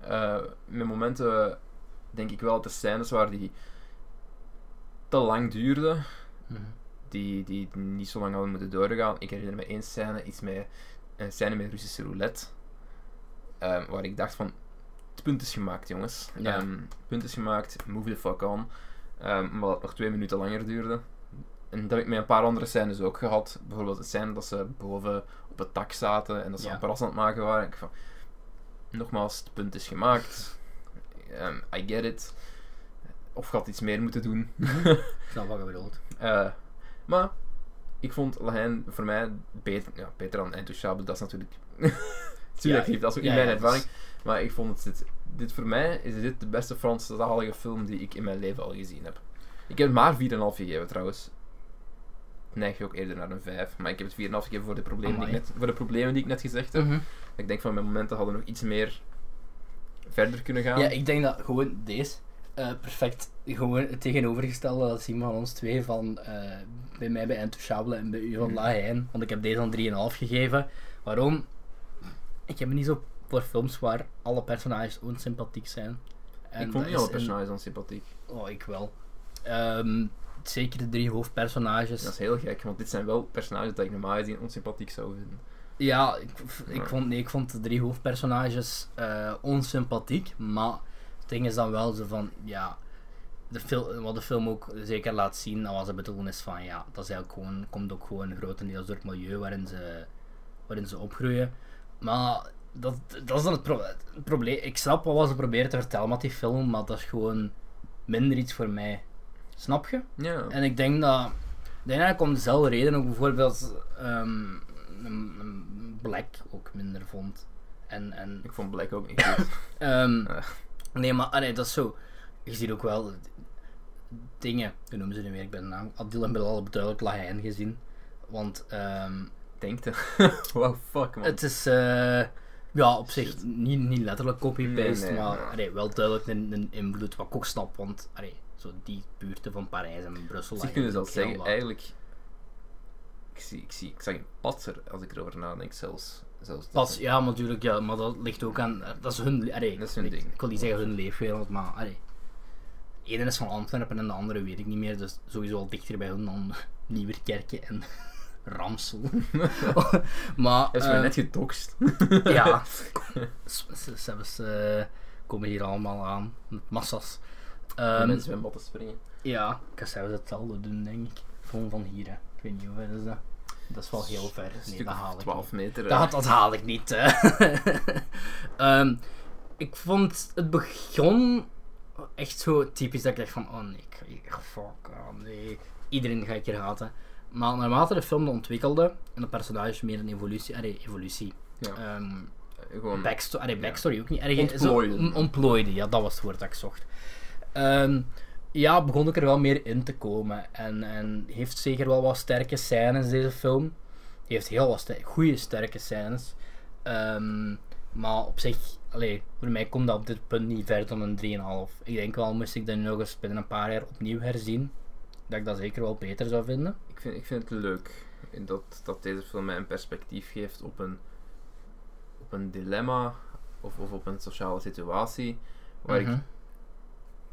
Eh, met momenten denk ik wel dat er scènes waren die te lang duurden Mhm. die, die niet zo lang hadden moeten doorgaan. Ik herinner me één scène, iets met, een scène met Russische roulette. ehm, waar ik dacht van, het punt is gemaakt jongens. Ja. Ehm, het punt is gemaakt, move the fuck on. Ehm, maar dat het nog twee minuten langer duurde. En dat heb ik met een paar andere scènes ook gehad. Bijvoorbeeld het scène dat ze boven op het dak zaten en dat ze Ja. een paras aan het maken waren. Ik van, nogmaals, het punt is gemaakt. Ehm, I get it. Of gaat iets meer moeten doen. Ik snap wat je bedoelt. Eh, maar ik vond Lahain voor mij beter, ja, beter dan Entouchable. Dat is natuurlijk subjectief, dat is ook ja, in mijn ja, dus- ervaring. dat Maar ik vond het, dit, dit voor mij is dit de beste Franstalige film die ik in mijn leven al gezien heb. Ik heb het maar 4,5 gegeven trouwens. Ik Neig je ook eerder naar een 5, maar ik heb het 4,5 gegeven voor de, problemen die ik Amai. net, voor de problemen die ik net gezegd heb. Mhm. Ik denk van mijn momenten hadden nog iets meer verder kunnen gaan. Ja, ik denk dat gewoon deze eh, perfect gewoon het tegenovergestelde dat zien van ons twee van eh, bij mij bij Entouchable en bij u van Mhm. Lahain. Want ik heb deze al 3,5 gegeven. Waarom? Ik heb me niet zo voor films waar alle personages onsympathiek zijn. En dat ik vond niet is alle in- personages onsympathiek. Oh, ik wel. Ehm, zeker de drie hoofdpersonages. Dat is heel gek, want dit zijn wel personages dat ik normaal gezien onsympathiek zou vinden. Ja, ik, v- Ja. ik, vond, nee, ik vond de drie hoofdpersonages eh, onsympathiek, maar het ding is dan wel zo van, ja, de fil- wat de film ook zeker laat zien, dat was de bedoeling is van, ja, dat is eigenlijk gewoon, komt ook gewoon grotendeels door het milieu waarin ze, waarin ze opgroeien. Maar dat, dat is dan het, pro- het probleem. Ik snap wel wat ze proberen te vertellen met die film, maar dat is gewoon minder iets voor mij. Snap je? Ja. En ik denk dat. Ik denk eigenlijk om dezelfde reden ook bijvoorbeeld ehm, een, een Black ook minder vond. En, en Ik vond Black ook niet goed. ehm, Ja. nee, maar allee, dat is zo. Je ziet ook wel dingen. Hoe noemen ze nu weer? Ik ben de naam. Adil en Bilal hebben duidelijk Lahain gezien. Want ehm, Denk te. wow, fuck man. het is eh, ja, op zich niet, niet letterlijk copy-paste, Nee, nee, maar ja. allee, wel duidelijk een, een invloed. Wat ik ook snap, want allee, Zo die buurten van Parijs en Brussel. Op zich kunnen ze dat eigenlijk zeggen. heel laat. Eigenlijk, ik zie, ik zie, ik zag een patser als ik erover nadenk, zelfs. zelfs dat Pas, ze- ja, maar natuurlijk, ja, maar dat ligt ook aan. Dat is hun. Allee, Dat is hun ik, ding. Ik wil niet zeggen hun leefwereld, maar. Allee. De ene is van Antwerpen en de andere weet ik niet meer, dus sowieso al dichter bij hun dan Nieuwerkerken en Ramsel. maar. Hij is eh, mij net gedokst. ja, ze, ze, ze hebben ze, eh, komen hier allemaal aan, met massas. Om Ehm, in het zwembad te springen. ja, ik zou ze hetzelfde doen, denk ik. Van, van hier, hè. ik weet niet hoe ver is dat. Dat is wel heel ver. Een Nee, stuk dat of haal ik niet. 12 meter. eh. Dat, dat haal ik niet. hè. Ehm, ik vond het begon echt zo typisch dat ik dacht van, oh nee, ik- ik- fuck, oh nee. Iedereen ga ik hier haten. Maar naarmate de film ontwikkelde en de personages meer een evolutie, allee, evolutie, Ja. Ehm, Eh, Gewoon, backstory, allee, backstory ook niet. Ergens, Ontplooide. zo- on- ontplooide, ja, dat was het woord dat ik zocht. Ehm, ja, begon ik er wel meer in te komen. En, en heeft zeker wel wat sterke scènes, deze film. Die heeft heel wat ster- goede sterke scènes. Ehm, maar op zich, allee, voor mij komt dat op dit punt niet verder dan een 3,5. Ik denk wel, moest ik dat nu nog eens binnen een paar jaar opnieuw herzien, dat ik dat zeker wel beter zou vinden. ik, vind, ik vind het leuk in dat, dat deze film mij een perspectief geeft op een, op een dilemma of, of op een sociale situatie waar Mhm. ik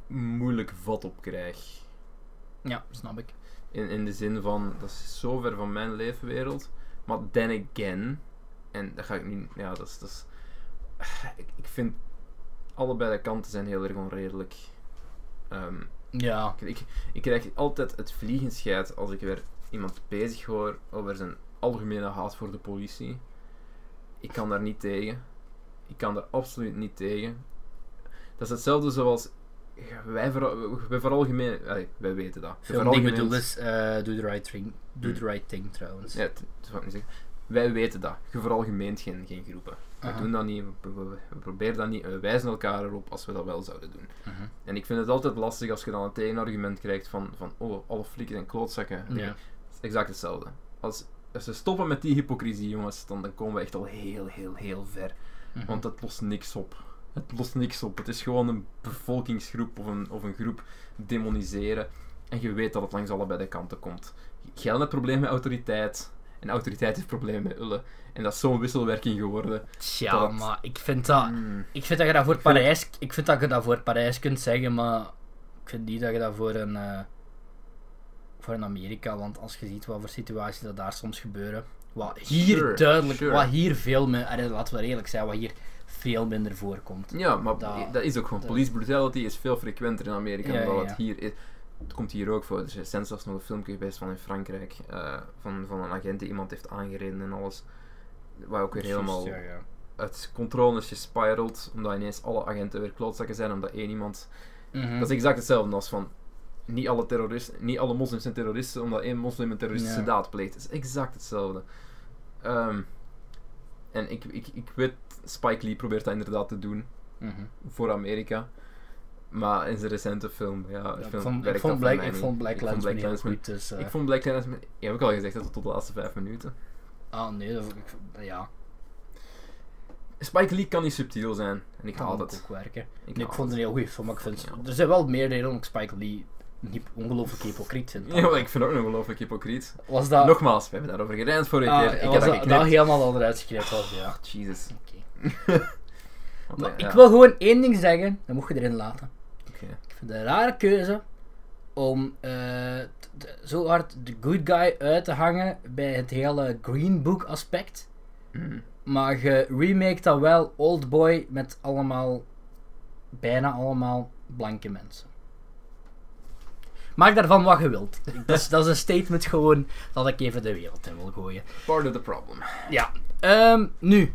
moeilijk vat op krijg. Ja, snap ik. In, in de zin van, dat is zo ver van mijn leefwereld. Maar then again, en dat ga ik nu, ja, dat is, dat is ik, ik vind allebei de kanten zijn heel erg onredelijk. Ehm, Ja, ik, ik, ik krijg altijd het vliegenscheid als ik weer iemand bezig hoor over zijn algemene haat voor de politie. Ik kan daar niet tegen. Ik kan daar absoluut niet tegen. Dat is hetzelfde zoals wij, ver, wij veralgemeen... allee, wij weten dat. Wij film die ik veralgemeen- bedoel is eh, Do the Right Thing. Do the Hmm. right thing trouwens. Ja, dat dat wou ik niet zeggen. Wij weten dat. Je veralgemeent geen, geen groepen. We Aha. doen dat niet, we, we- we proberen dat niet en we wijzen elkaar erop als we dat wel zouden doen. Mhm. En ik vind het altijd lastig als je dan een tegenargument krijgt van, van oh, alle flikken en klootzakken. Ja. Het is exact hetzelfde. Als, als ze stoppen met die hypocrisie, jongens, dan, dan komen we echt al heel, heel, heel ver. Mhm. Want het lost niks op. Het lost niks op. Het is gewoon een bevolkingsgroep of een, of een groep demoniseren. En je weet dat het langs allebei de kanten komt. Jij hebt problemen met autoriteit. En autoriteit heeft problemen met ullen. En dat is zo'n wisselwerking geworden. Tja, dat- maar ik vind dat... Mm. Ik vind dat je dat voor Ik vind- Parijs... Ik vind dat je dat voor Parijs kunt zeggen, maar... Ik vind niet dat je dat voor een... eh, voor een Amerika, want als je ziet wat voor situaties dat daar soms gebeuren... Wat hier Sure, duidelijk... sure. Wat hier veel minder... Laten we eerlijk zijn, wat hier veel minder voorkomt. Ja, maar Dat- dat, is ook gewoon. dat- Police brutality is veel frequenter in Amerika Ja, dan dat ja, ja. het hier is. Het komt hier ook voor. Er is recent zelfs nog een filmpje geweest van in Frankrijk. eh, van, van een agent die iemand heeft aangereden en alles. Waar ook weer helemaal Ja, ja. uit controle is gespirald. Omdat ineens alle agenten weer klootzakken zijn. Omdat één iemand. Mhm. Dat is exact hetzelfde als van. Niet alle, terroristen, niet alle moslims zijn terroristen, omdat één moslim een terroristische Ja. daad pleegt. Dat is exact hetzelfde. Ehm, en ik, ik, ik weet, Spike Lee probeert dat inderdaad te doen Mhm. voor Amerika. Maar in zijn recente film, ja, de Ja, ik film vond, ik werkt vond dat voor Black, mij ik niet. vond Black Ik vond Landsman Black heel Klansman- goed, dus... eh, Ik vond Black Klansman... Je hebt ook al gezegd dat tot de laatste vijf minuten. Ah, nee, dat vond ik... Ja, Spike Lee kan niet subtiel zijn. En ik dat haal moet dat. ook werken. Ik, Nee, haal ik vond het dat. een heel goede film, maar ik vind... Ja. Er zijn wel meer redenen waarom ik Spike Lee niet ongelooflijk hypocriet vind. Ja, maar ik vind het ook nog ongelooflijk hypocriet. Was dat... Nogmaals, we hebben daarover gerend vorige ah, keer. Ik heb was dat dat, dat geknipt. helemaal al eruit geknipt was, ja. Jezus. Oké. Want, eh, Maar ja, ik wil gewoon één ding zeggen, dat mocht je erin laten. oké. Ik vind het een rare keuze om eh, t- t- zo hard de good guy uit te hangen bij het hele Green Book aspect. Hmm. Mm. Maar je remake dan wel Old Boy met allemaal, bijna allemaal blanke mensen. Maak daarvan wat je wilt. Dat is, dat is een statement gewoon dat ik even de wereld in wil gooien. Part of the problem. Ja, ehm, nu.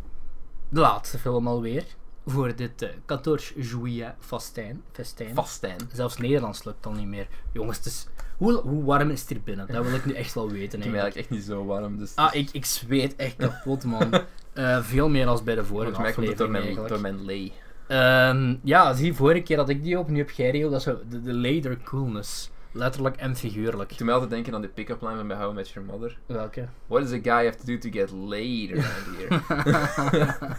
De laatste film alweer. Voor dit eh, 14 juillet festijn. festijn. Vastijn. Zelfs Nederlands lukt al niet meer. Jongens, het is, hoe, hoe warm is het hier binnen? Dat wil ik nu echt wel weten. Ik ben eigenlijk. eigenlijk echt niet zo warm, dus... Ah, ik, ik zweet echt kapot, man. Eh, veel meer als bij de vorige Volgens mij komt het door aflevering mijn, eigenlijk. door mijn lee. Ehm, ja, zie, vorige keer dat ik die opnieuw heb geregeld, dat is zo de, de later coolness. Letterlijk en figuurlijk. Ik doe mij altijd denken aan de pick-up line van bij How I Met Your Mother. Welke? What does a guy have to do to get laid around here?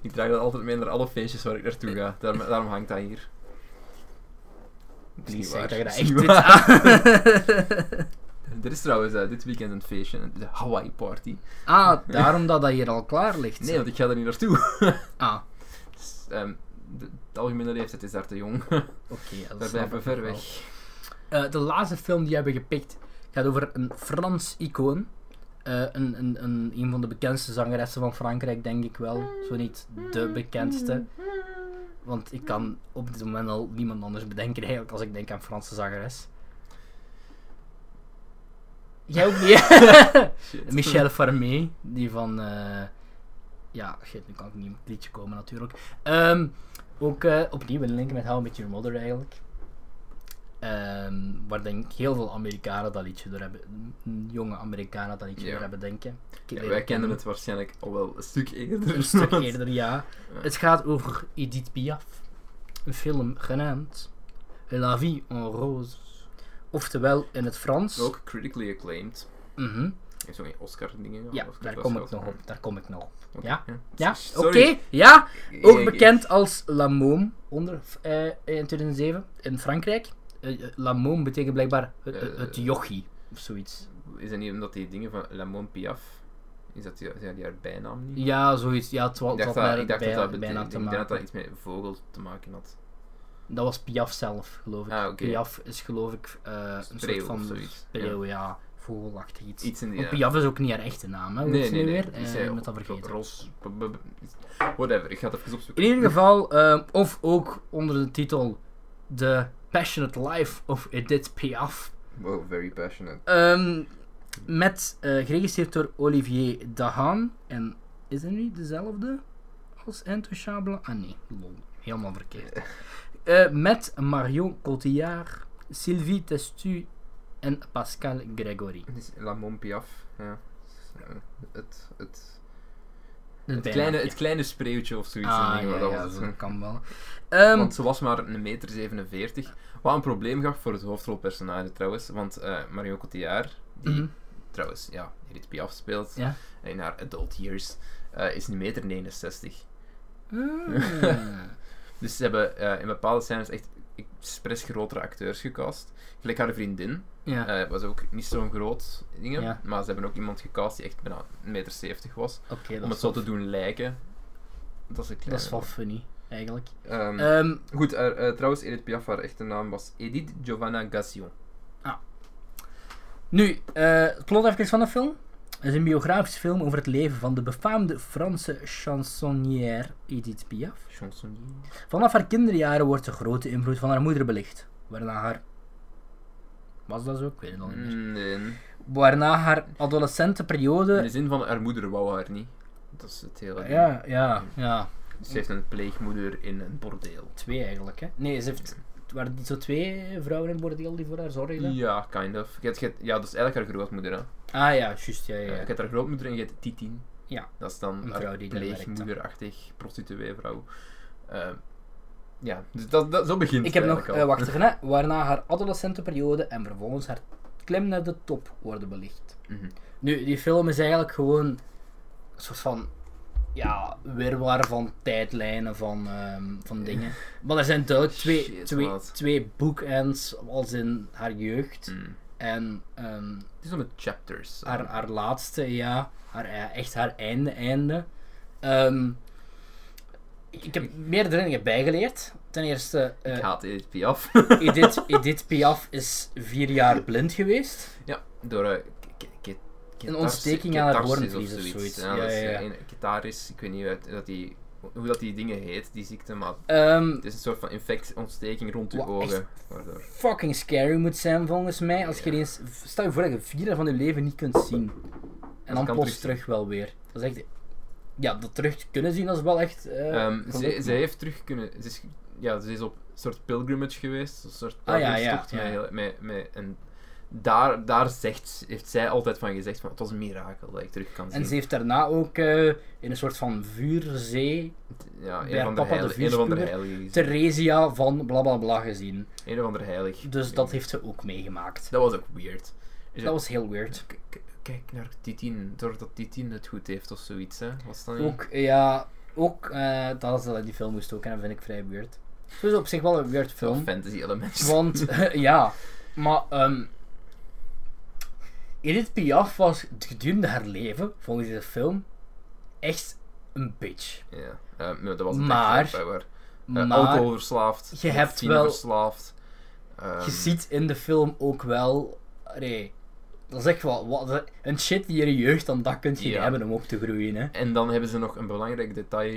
ik draag dat altijd mee naar alle feestjes waar ik naartoe ga. Daarom, daarom hangt dat hier. Dat is Please, niet zeg waar. dat je dat is echt niet dit waar. aan- Er is trouwens eh, dit weekend een feestje, de Hawaii Party. Ah, daarom dat dat hier al klaar ligt. Nee, want ik ga er niet naartoe. Ah, Dus, ehm, de, de algemene leeftijd is daar te jong. oké. dat snap Daar blijven we ik ver wel. weg. Eh, de laatste film die we hebben gepikt gaat over een Frans icoon. Eh, een, een, een, een van de bekendste zangeressen van Frankrijk, denk ik wel. Zo niet de bekendste. Want ik kan op dit moment al niemand anders bedenken eigenlijk als ik denk aan Franse zangeres. Jij ook niet? Shit. Michel Farmé, die van. eh, ja, shit, nu kan ik niet op het liedje komen natuurlijk. Ehm, ook eh, opnieuw een link met How I Met Your Mother eigenlijk. Ehm, waar denk ik heel veel Amerikanen dat liedje door hebben. mm, Jonge Amerikanen dat liedje Ja. door hebben denken. Ja, wij kennen het waarschijnlijk al wel een stuk eerder. een stuk want- eerder, ja. Ja. Het gaat over Edith Piaf. Een film genaamd La vie en rose. Oftewel in het Frans. Ook critically acclaimed. Mhm. Heeft zo'n Oscar-dingen. Ja, Oscars daar was kom het ik ook. nog op. Daar kom ik nog op. Oké, Ja. Ja, ja. oké. Sorry. Ja, ook Ik- bekend als La Môme onder, eh, in 2007 in Frankrijk. Eh, eh, La Môme betekent blijkbaar het, het- het Eh. jochie of zoiets. Is dat niet omdat die dingen van Lamont Piaf. Is dat die, zijn die haar bijnaam niet? Ja, zoiets. Ja, het wa- Ik dacht had dat, met ik dacht bij- dat, dat, bijna betekent- te ik denk dat dat maken. iets met vogel te maken had. Dat was Piaf zelf, geloof ik. Ah, oké. Piaf is geloof ik eh, een soort Spreeuw van of zoiets. spreeuw, ja. Vogelachtig iets. Iets in die. Want ja. Piaf is ook niet haar echte naam, hè. Hoe heet Nee, ze nee, nu nee. weer? Eh, Is ik hij ben dat op- vergeten. Ros. b- b- b- Whatever, ik ga het even opzoeken. In ieder geval, ehm, of ook onder de titel The Passionate Life of Edith Piaf. Wow, very passionate. Ehm, met, eh, geregisseerd door Olivier Dahan. En is hij nu dezelfde als Intouchable? Ah nee, lol. Helemaal verkeerd. Eh, met Marion Cotillard, Sylvie Testu en Pascal Gregory. Het is Lamont Piaf. Ja. Eh, Het, het, Het het, kleine, het kleine spreeuwtje of zoiets. in Ah, die- ja, maar dat ja, was het. dat kan wel. Ehm, Want ze was maar 1,47 meter. Wat een probleem gaf voor het hoofdrolpersonage trouwens. Want eh Mario Cotillard, die mhm. trouwens ja, Edith Piaf speelt Ja. eh, in haar adult years, eh, is 1,69 meter. 69. Ah. Dus ze hebben eh, in bepaalde scènes echt expres grotere acteurs gecast. Gelijk haar vriendin ja. eh, was ook niet zo'n groot dingen, Ja. maar ze hebben ook iemand gecast die echt bijna 1,70 meter was. Oké, om dat, het is zo wel- te doen lijken. Dat is een klein. dat is wel funny, eigenlijk. Ehm, Ehm, Goed, er, eh, trouwens, Edith Piaf, haar echte naam was Edith Giovanna Gassion. nu, eh, het plot even van de film. Het is een biografische film over het leven van de befaamde Franse chansonnière Edith Piaf. Chansonnier. Vanaf haar kinderjaren wordt de grote invloed van haar moeder belicht. Waarna haar... Was dat zo? Ik weet het al niet meer. Nee. Waarna haar adolescente In de periode... zin van haar moeder wou haar niet. Dat is het hele. ding. Ah, Ja, ja, ja. Ze heeft een pleegmoeder in een bordeel. Twee eigenlijk, hè. Nee, ze heeft... het waren niet zo twee vrouwen in het bordeel die voor haar zorgden? Ja, kind of. Je hebt- je hebt- ja, dat is eigenlijk haar grootmoeder. Hè. Ah ja, juist, ja, ja. Eh, ja. je hebt haar grootmoeder en je hebt Titin. Ja. Dat is dan Een vrouw haar die daar werkt, hè. pleegmoederachtig prostitueevrouw. Eh, ja, dus dat, dat, zo begint Ik het heb nog, eigenlijk eh, al. wacht even, hè. waarna haar adolescente periode en vervolgens haar klim naar de top worden belicht. Mhm. Nu, die film is eigenlijk gewoon een soort van, ja, wirwar van tijdlijnen, van, ehm, van dingen. Maar er zijn duidelijk twee, Shit, twee, maat. twee bookends, als in haar jeugd Mm. en ehm, Het is om het chapters. eh, haar, haar laatste, ja, haar, eh, echt haar einde, einde. Ehm, ik, ik heb meerdere dingen bijgeleerd. Ten eerste... eh, Ik haat Edith Piaf. Edith, Edith Piaf is vier jaar blind geweest. ja, door... eh, k- k- k- Een catars- ontsteking aan haar catarsis hoornvlies of zoiets. Ja, Ja, dat is, ja, ja. eh, een Ketaris, ik weet niet wat- dat die, hoe dat die dingen heet, die ziekte, maar Ehm, het is een soort van infectie, ontsteking rond uw Wa- echt? ogen. Waardoor. fucking scary moet zijn volgens mij. Als je eens, stel je voor dat je vier jaar van je leven niet kunt zien. En dan kan plots terug- terug wel weer. Dat is echt... Ja, dat terug kunnen zien, dat is wel echt... eh, Ehm, geluk, ze, man. ze heeft terug kunnen. Ze is, ja, ze is op een soort pilgrimage geweest. Een soort Ah, ja, pelgrimstocht ja, ja. Met, heel- met, met, en daar, daar zegt, heeft zij altijd van gezegd: van, Het was een mirakel dat ik terug kan zien. En ze heeft daarna ook eh, in een soort van vuurzee ja, bij een haar van de papa de heilige. Een van de vuurspuwer heilige. gezien. Theresia van blablabla gezien. Een van de heilige. Dus dat heeft ze ook meegemaakt. Dat was ook weird. Dus Dat was heel weird. k- k- Kijk naar Titin, doordat Titin het goed heeft of zoiets, hè? Was dat niet? Ook, ja, ook eh, dat is dat die film moest ook en dat vind ik vrij weird. Het is op zich wel een weird Veel film. fantasy elementen. Want, ja, maar ehm Edith Piaf was gedurende haar leven, volgens deze film, echt een bitch. Ja, eh, maar dat was het Maar- echt, hè, waar- Eh, Maar alcoholverslaafd. je hebt morfine wel- verslaafd. Ehm, je ziet in de film ook wel, nee, dat is echt wel, wat, een shit die in je jeugd dan dat kunt je Ja. hebben om op te groeien, hè. En dan hebben ze nog een belangrijk detail.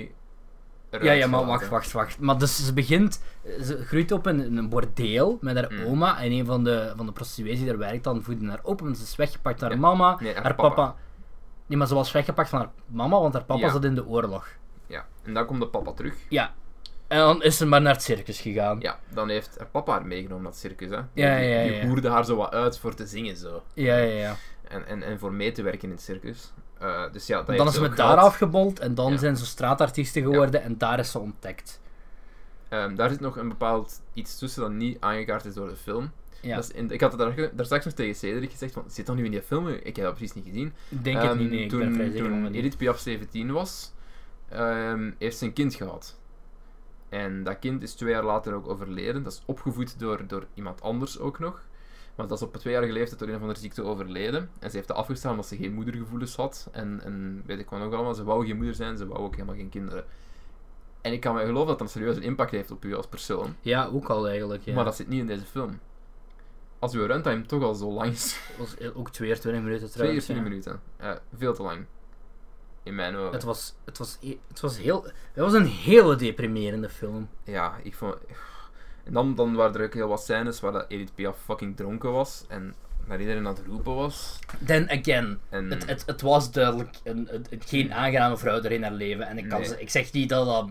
eruit Ja, ja, maar gelaten. wacht, wacht, wacht. Maar dus ze begint, ze groeit op in in een bordeel met haar Mm. oma en een van de, van de prostituees die daar werkt dan voedde haar op, want ze is weggepakt door haar Ja. mama. Nee, haar haar papa. papa. Nee, maar ze was weggepakt van haar mama, want haar papa Ja. zat in de oorlog. Ja, en dan komt de papa terug. Ja. En dan is ze maar naar het circus gegaan. Ja, dan heeft haar papa haar meegenomen naar het circus. Hè. Ja, die, ja, die ja. hoerde haar zo wat uit voor te zingen zo. Ja, ja, ja. En, en, en voor mee te werken in het circus. Eh, dus ja, dat dan heeft is ze ook met daar gehad. afgebold en dan Ja. zijn ze straatartiesten geworden en daar is ze ontdekt. Ehm, daar zit nog een bepaald iets tussen dat niet aangekaart is door de film. Ja. Dat is in de- ik had het daar, daar straks nog tegen Cedric gezegd, want zit dat nu in die film? Ik heb dat precies niet gezien. Ik Denk het Ehm, niet, nee. Ik toen, ben vrij zeker toen van het niet. Edith Piaf 17 was, ehm, heeft ze een kind gehad. En dat kind is twee jaar later ook overleden. Dat is opgevoed door, door iemand anders ook nog. Want dat is op een tweejarige leeftijd door een of andere ziekte overleden. En ze heeft dat afgestaan omdat ze geen moedergevoelens had. En, en weet ik wat nog allemaal. Ze wou geen moeder zijn, ze wou ook helemaal geen kinderen. En ik kan me geloven dat dat een serieuze impact heeft op u als persoon. Ja, ook al eigenlijk. Ja. Maar dat zit niet in deze film. Als uw runtime toch al zo lang is. was ook 22 minuten trouwens. 42 ja. minuten. Eh, veel te lang. In mijn ogen. Het was, het was, e- het was heel, het was een hele deprimerende film. Ja, ik vond... En dan, dan waren er ook heel wat scènes waar dat Edith Piaf fucking dronken was. En naar iedereen aan het roepen was. Then again, En... het, het, het was duidelijk een, een- een- geen aangename vrouw er in haar leven. En ik, kan, Nee. ze- ik zeg niet dat dat,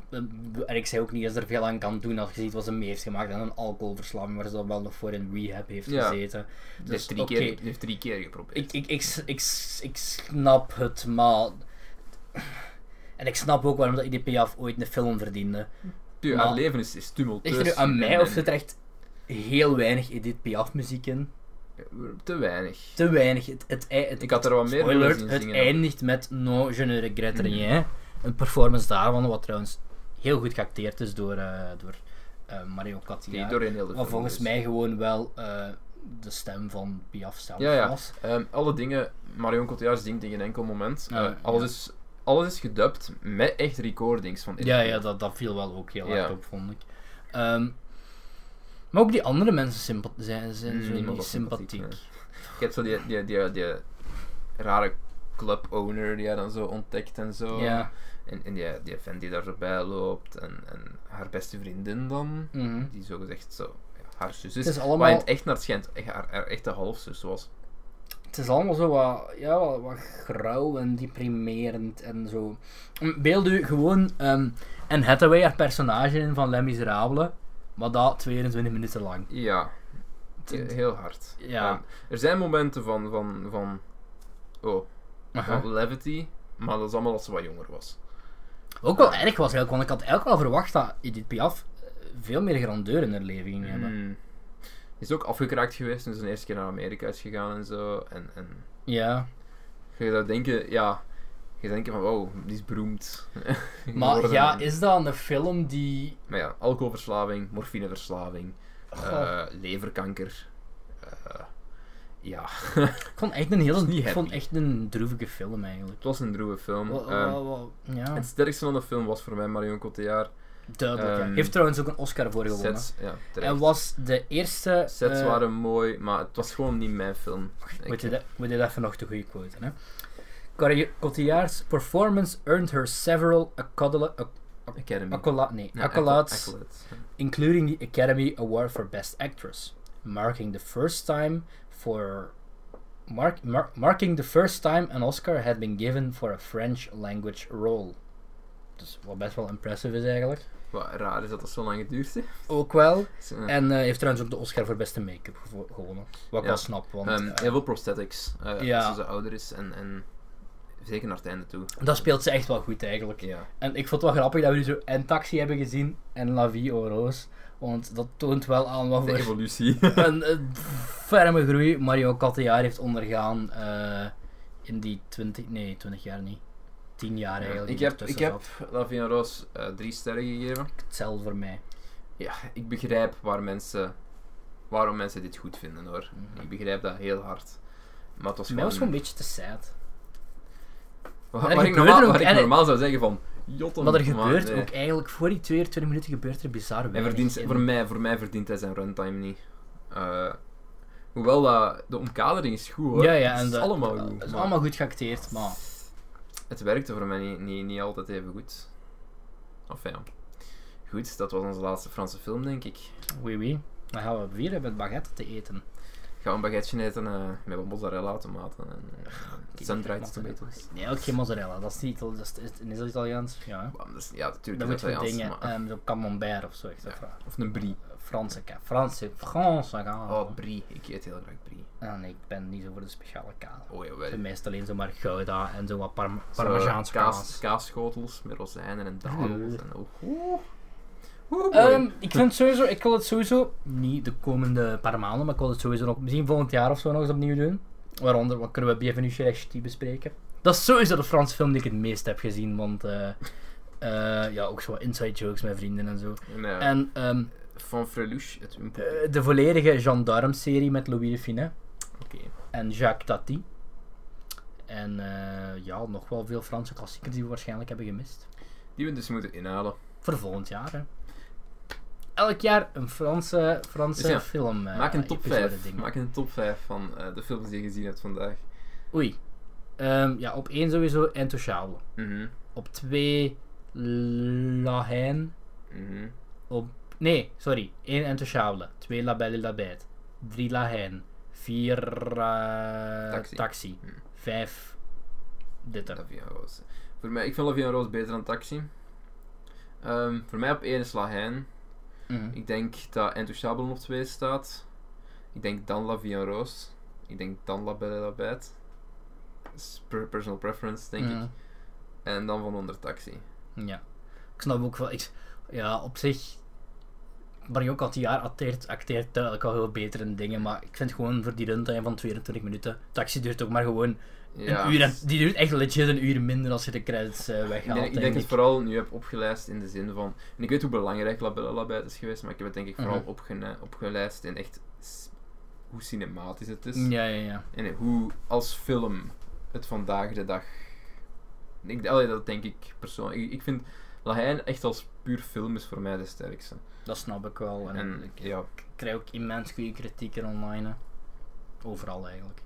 en ik zeg ook niet dat ze er veel aan kan doen als je ziet wat ze mee heeft gemaakt aan een alcoholverslaving, waar ze dan wel nog voor in rehab heeft Ja. gezeten. die Dus heeft, drie oké, keer, die heeft drie keer geprobeerd. ik, ik, ik, s- ik, s- ik snap het, maar... En ik snap ook waarom dat Edith Piaf ooit een film verdiende. Duur, haar maar- leven is, is tumultueus. Ligt er nu aan mij en- of en- zit er echt heel weinig Edith Piaf muziek in? Te weinig. te weinig. Het, het, ei- het, Ik had er wat meer spoiler, willen zien Het zingen. Mhm. eindigt met No Je ne regrette rien. Een performance daarvan, wat trouwens heel goed geacteerd is door, eh, door eh, Mario Die Catilla. doorheen heel de wat film volgens is. mij gewoon wel eh, de stem van Piaf zelf Ja, ja. was. Ehm, alle dingen, Marion Cotillard zingt in geen enkel moment. Ja, Eh, alles, ja. is, alles is gedubt met echt recordings van Edith Ja, Piaf. ja dat, dat viel wel ook heel Ja. hard op, vond ik. Ehm, maar ook die andere mensen sympa- zijn, zijn zo Mm, Niemand niet was sympathiek. nee. Ik heb zo die, die, die, die rare club-owner die hij dan zo ontdekt en zo. Ja. En, en die, die vent die daar zo bij loopt. En, en haar beste vriendin dan. mhm. Die zo gezegd zo... ja, haar zus is. Het is Waar Dus in allemaal, het echt naar het schijnt. Echt, haar, haar echte halfzus was. Het is allemaal zo wat, ja, wat, wat grauw en deprimerend en zo. Mm, Beeld u gewoon ehm Anne Hathaway, haar personage in van Les Miserables, maar dat 22 minuten lang. Ja. Het- he- Heel hard. Ja. Ehm, er zijn momenten van... van, van oh. Aha. Van levity. Maar dat is allemaal als ze wat jonger was. Ook wel erg was eigenlijk, want ik had eigenlijk wel verwacht dat Edith Piaf eh, veel meer grandeur in haar leven ging hebben. Mm. Is ook afgekraakt geweest toen ze de eerste keer naar Amerika is gegaan en zo. En, en Ja. je zou denken, ja, je zou denken van wow, die is beroemd. Maar geworden. ja, is dat een film die... Maar ja, alcoholverslaving, morfineverslaving, Goh, eh, leverkanker. eh, ja, ik vond echt een heel... niet Ik vond happy. echt een droevige film eigenlijk. het was een droeve film. Wa- Ehm, wa- wa- Ja, het sterkste van de film was voor mij Marion Cotillard. duidelijk. ja. ehm, Heeft trouwens ook een Oscar voor gewonnen. Sets, ja, terecht. En was de eerste... Sets eh, waren mooi, maar het was gewoon niet mijn film. Moet Ik- eh, je, dat, moet je dat even nog de goede quote hè? Corrie- Cotillard's performance earned her several accola, acc- Academy. accola, nee, Ja, accolades, accolades. including the Academy Award for Best Actress, marking the first time for mark, mar- marking the first time an Oscar had been given for a French language role. Dus wat best wel impressive is eigenlijk. Wat raar is dat dat zo lang geduurd heeft. Ook wel. Dus, eh, En eh, heeft trouwens ook de Oscar voor beste make-up gevo- gewonnen. Wat ik Ja. wel snap, want Ehm, eh, heel veel prosthetics. eh, ja. Als ze ouder is en, en zeker naar het einde toe. dat speelt ze echt wel goed eigenlijk. Ja. En ik vond het wel grappig dat we nu zo en Taxi hebben gezien en La Vie en Rose. Want dat toont wel aan wat De voor evolutie. een eh, ferme groei Mario Catillard heeft ondergaan eh, in die 20, nee 20 jaar niet. 10 jaar eigenlijk. ik die heb, ik ertussen heb Lavia Roos eh, drie sterren gegeven. zat. Hetzelfde voor mij. Ja, ik begrijp waar mensen, waarom mensen dit goed vinden hoor. Mhm. Ik begrijp dat heel hard. Maar het was Mij was gewoon... gewoon een beetje te sad. Waar, Er waar ik gebeurde normaal, ook waar ik en- normaal zou zeggen van... Jotten, Maar er gebeurt nee. ook eigenlijk voor die 22 minuten gebeurt er bizar Hij weinig. verdient, En- voor, mij, voor mij verdient hij zijn runtime niet. Eh, hoewel dat, de omkadering is goed hoor. Ja, ja, het en is dat- allemaal dat goed. is maar allemaal goed geacteerd, maar Het werkte voor mij niet, niet, niet altijd even goed. Of ja. Goed, dat was onze laatste Franse film denk ik. oui oui. Dan gaan we weer hebben baguette te eten. Gaan we een baguetje eten eh, met wat mozzarella, tomaten en Ah, uh, sun-dried makkelijk. tomatoes. Nee, ook geen mozzarella, dat is niet Ital- dat is, is, is dat Italiaans. Ja, hè. Bam, dat is- Ja, dat natuurlijk moet dat je wij als... dingen, maar- ehm zo camembert of zo. echt, of, eh, ah. Of een brie. Franse, ka- Franse, Franse kaas. Oh, brie. Ik eet heel graag brie. En ik ben niet zo voor de speciale kaas. Oh Voor jawel. mij is het alleen zomaar gouda en zo wat parm Zo, parmezaanse kaas. kaas, kaasschotels met rozijnen en Mm. dadels. En, oh, oeh. Oeh, Ehm, boy. ik vind het sowieso, ik wil het sowieso niet de komende paar maanden, maar ik wil het sowieso nog misschien volgend jaar of zo nog eens opnieuw doen. Waaronder, wat kunnen we Bienvenue chez les Ch'tis bespreken? Dat is sowieso de Franse film die ik het meest heb gezien, want eh, eh, ja, ook zo wat inside jokes met vrienden en zo. En, eh, En ehm, Van Freluche, het Umpo. eh, de volledige gendarme serie met Louis de Funès Oké. en Jacques Tati. En eh, ja, nog wel veel Franse klassiekers die we waarschijnlijk hebben gemist. Die we dus moeten inhalen. Voor volgend jaar, hè. Elk jaar een Franse, Franse Dus ja, film. eh, Maak een top episode 5. ding. Maak een top 5 van eh, de films die je gezien hebt vandaag. Oei. Ehm, ja, op één sowieso Intouchable. Mhm. Op twee La Haine. mhm. Op... Nee, sorry. Eén Intouchable. Twee La Belle et la Bête. Drie La Haine. Vier eh, Taxi. Hm. Vijf... Dit er. Lavia Roos. Voor mij, ik vind Lavia Roos beter dan Taxi. Ehm, voor mij op 1 is Lahain. Mhm. Ik denk dat Entouchable op 2 staat. Ik denk dan Lavia Roos. Ik denk dan La Belle et la Bête. Dat is per- personal preference, denk Mhm. ik. En dan van onder Taxi. Ja. Ik snap ook wel. Ik, ja, op zich. Mario jaar acteert, acteert duidelijk al heel beter in dingen. Maar ik vind gewoon voor die runtime van 22 minuten. Taxi duurt ook maar gewoon Ja. een uur. En, die duurt echt legit een uur minder als je de credits eh, Ik weghaalt. denk, ik denk het vooral nu heb opgelijst in de zin van. En ik weet hoe belangrijk La Bella La Bête is geweest, maar ik heb het denk ik vooral Mhm. opgene- opgelijst in echt s- hoe cinematisch het is. Ja, ja, ja. En hoe als film het vandaag de dag. Ik, allee, dat denk ik persoonlijk. Ik, ik vind La Haine echt als puur film is voor mij de sterkste. Dat snap ik wel. En, En ik ja, krijg ook immens goede kritieken online. hè. Overal eigenlijk.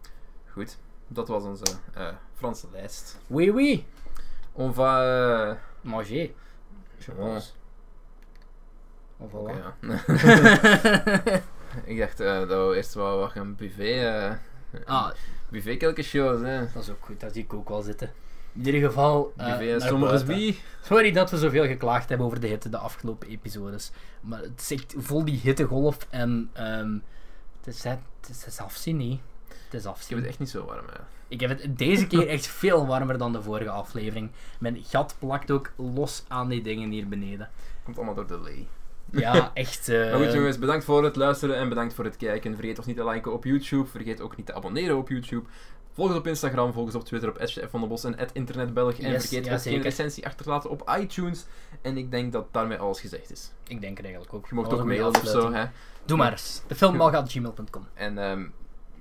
goed. Dat was onze eh, Franse lijst. Oui, oui. On va. eh, Manger. Je Ja. pense. Of voilà. oké, ja. ik dacht eh, dat we eerst wel wat gaan buffet. eh, Ah, Buffet quelque chose, hè. dat is ook goed. Dat zie ik ook wel zitten. In ieder geval. eh, Buffet, naar sommigen buiten. wie. Sorry dat we zoveel geklaagd hebben over de hitte de afgelopen episodes. Maar het zit vol die hittegolf en ehm, het, is, het, het is afzien, hè. Het is Ik heb afzien. het echt niet zo warm, hè. Ik heb het deze keer echt veel warmer dan de vorige aflevering. Mijn gat plakt ook los aan die dingen hier beneden. Komt allemaal door de lay. Ja, echt. eh, Maar goed jongens, bedankt voor het luisteren en bedankt voor het kijken. Vergeet ons niet te liken op YouTube. Vergeet ook niet te abonneren op YouTube. Volg ons op Instagram, volg ons op Twitter op @chef van de Bos en @internetbelg. En Yes, vergeet ja, ook geen zeker. recensie achter te laten op iTunes. En ik denk dat daarmee alles gezegd is. Ik denk er eigenlijk ook. Je mocht Alles ook om mee mailen of zo, afsluiten. hè. Doe maar eens. De filmbalg.gmail.com. En ehm,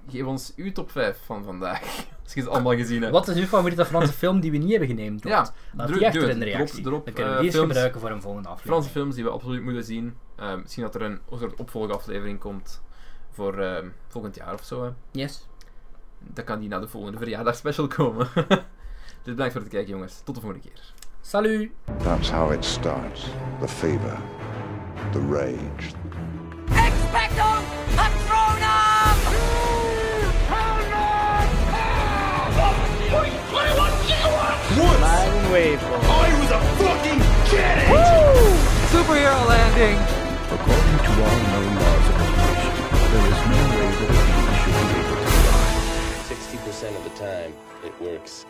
geef ons uw top 5 van vandaag. Als je het allemaal gezien hebt. Wat is uw favoriete Franse film die we niet hebben geneemd? Ja, Laat doe- die achter doe in het. de reactie. Drop, drop, Dan kunnen we eh, die eens films. gebruiken voor een volgende aflevering. Franse films die we absoluut moeten zien. Ehm, misschien dat er een, een soort opvolgaflevering komt voor ehm, volgend jaar of zo. Hè. Yes. Dan kan die naar de volgende verjaardagsspecial komen. dus bedankt voor het kijken, jongens. Tot de volgende keer. Salut! That's how it starts. The fever, the rage, Expecto Patronum! According to all known laws of evolution, there is no way that a bee should be able to fly. 60% of the time, it works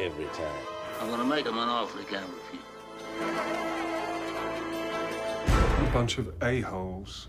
every time. I'm gonna make him an offer he can't refuse. bunch of a-holes.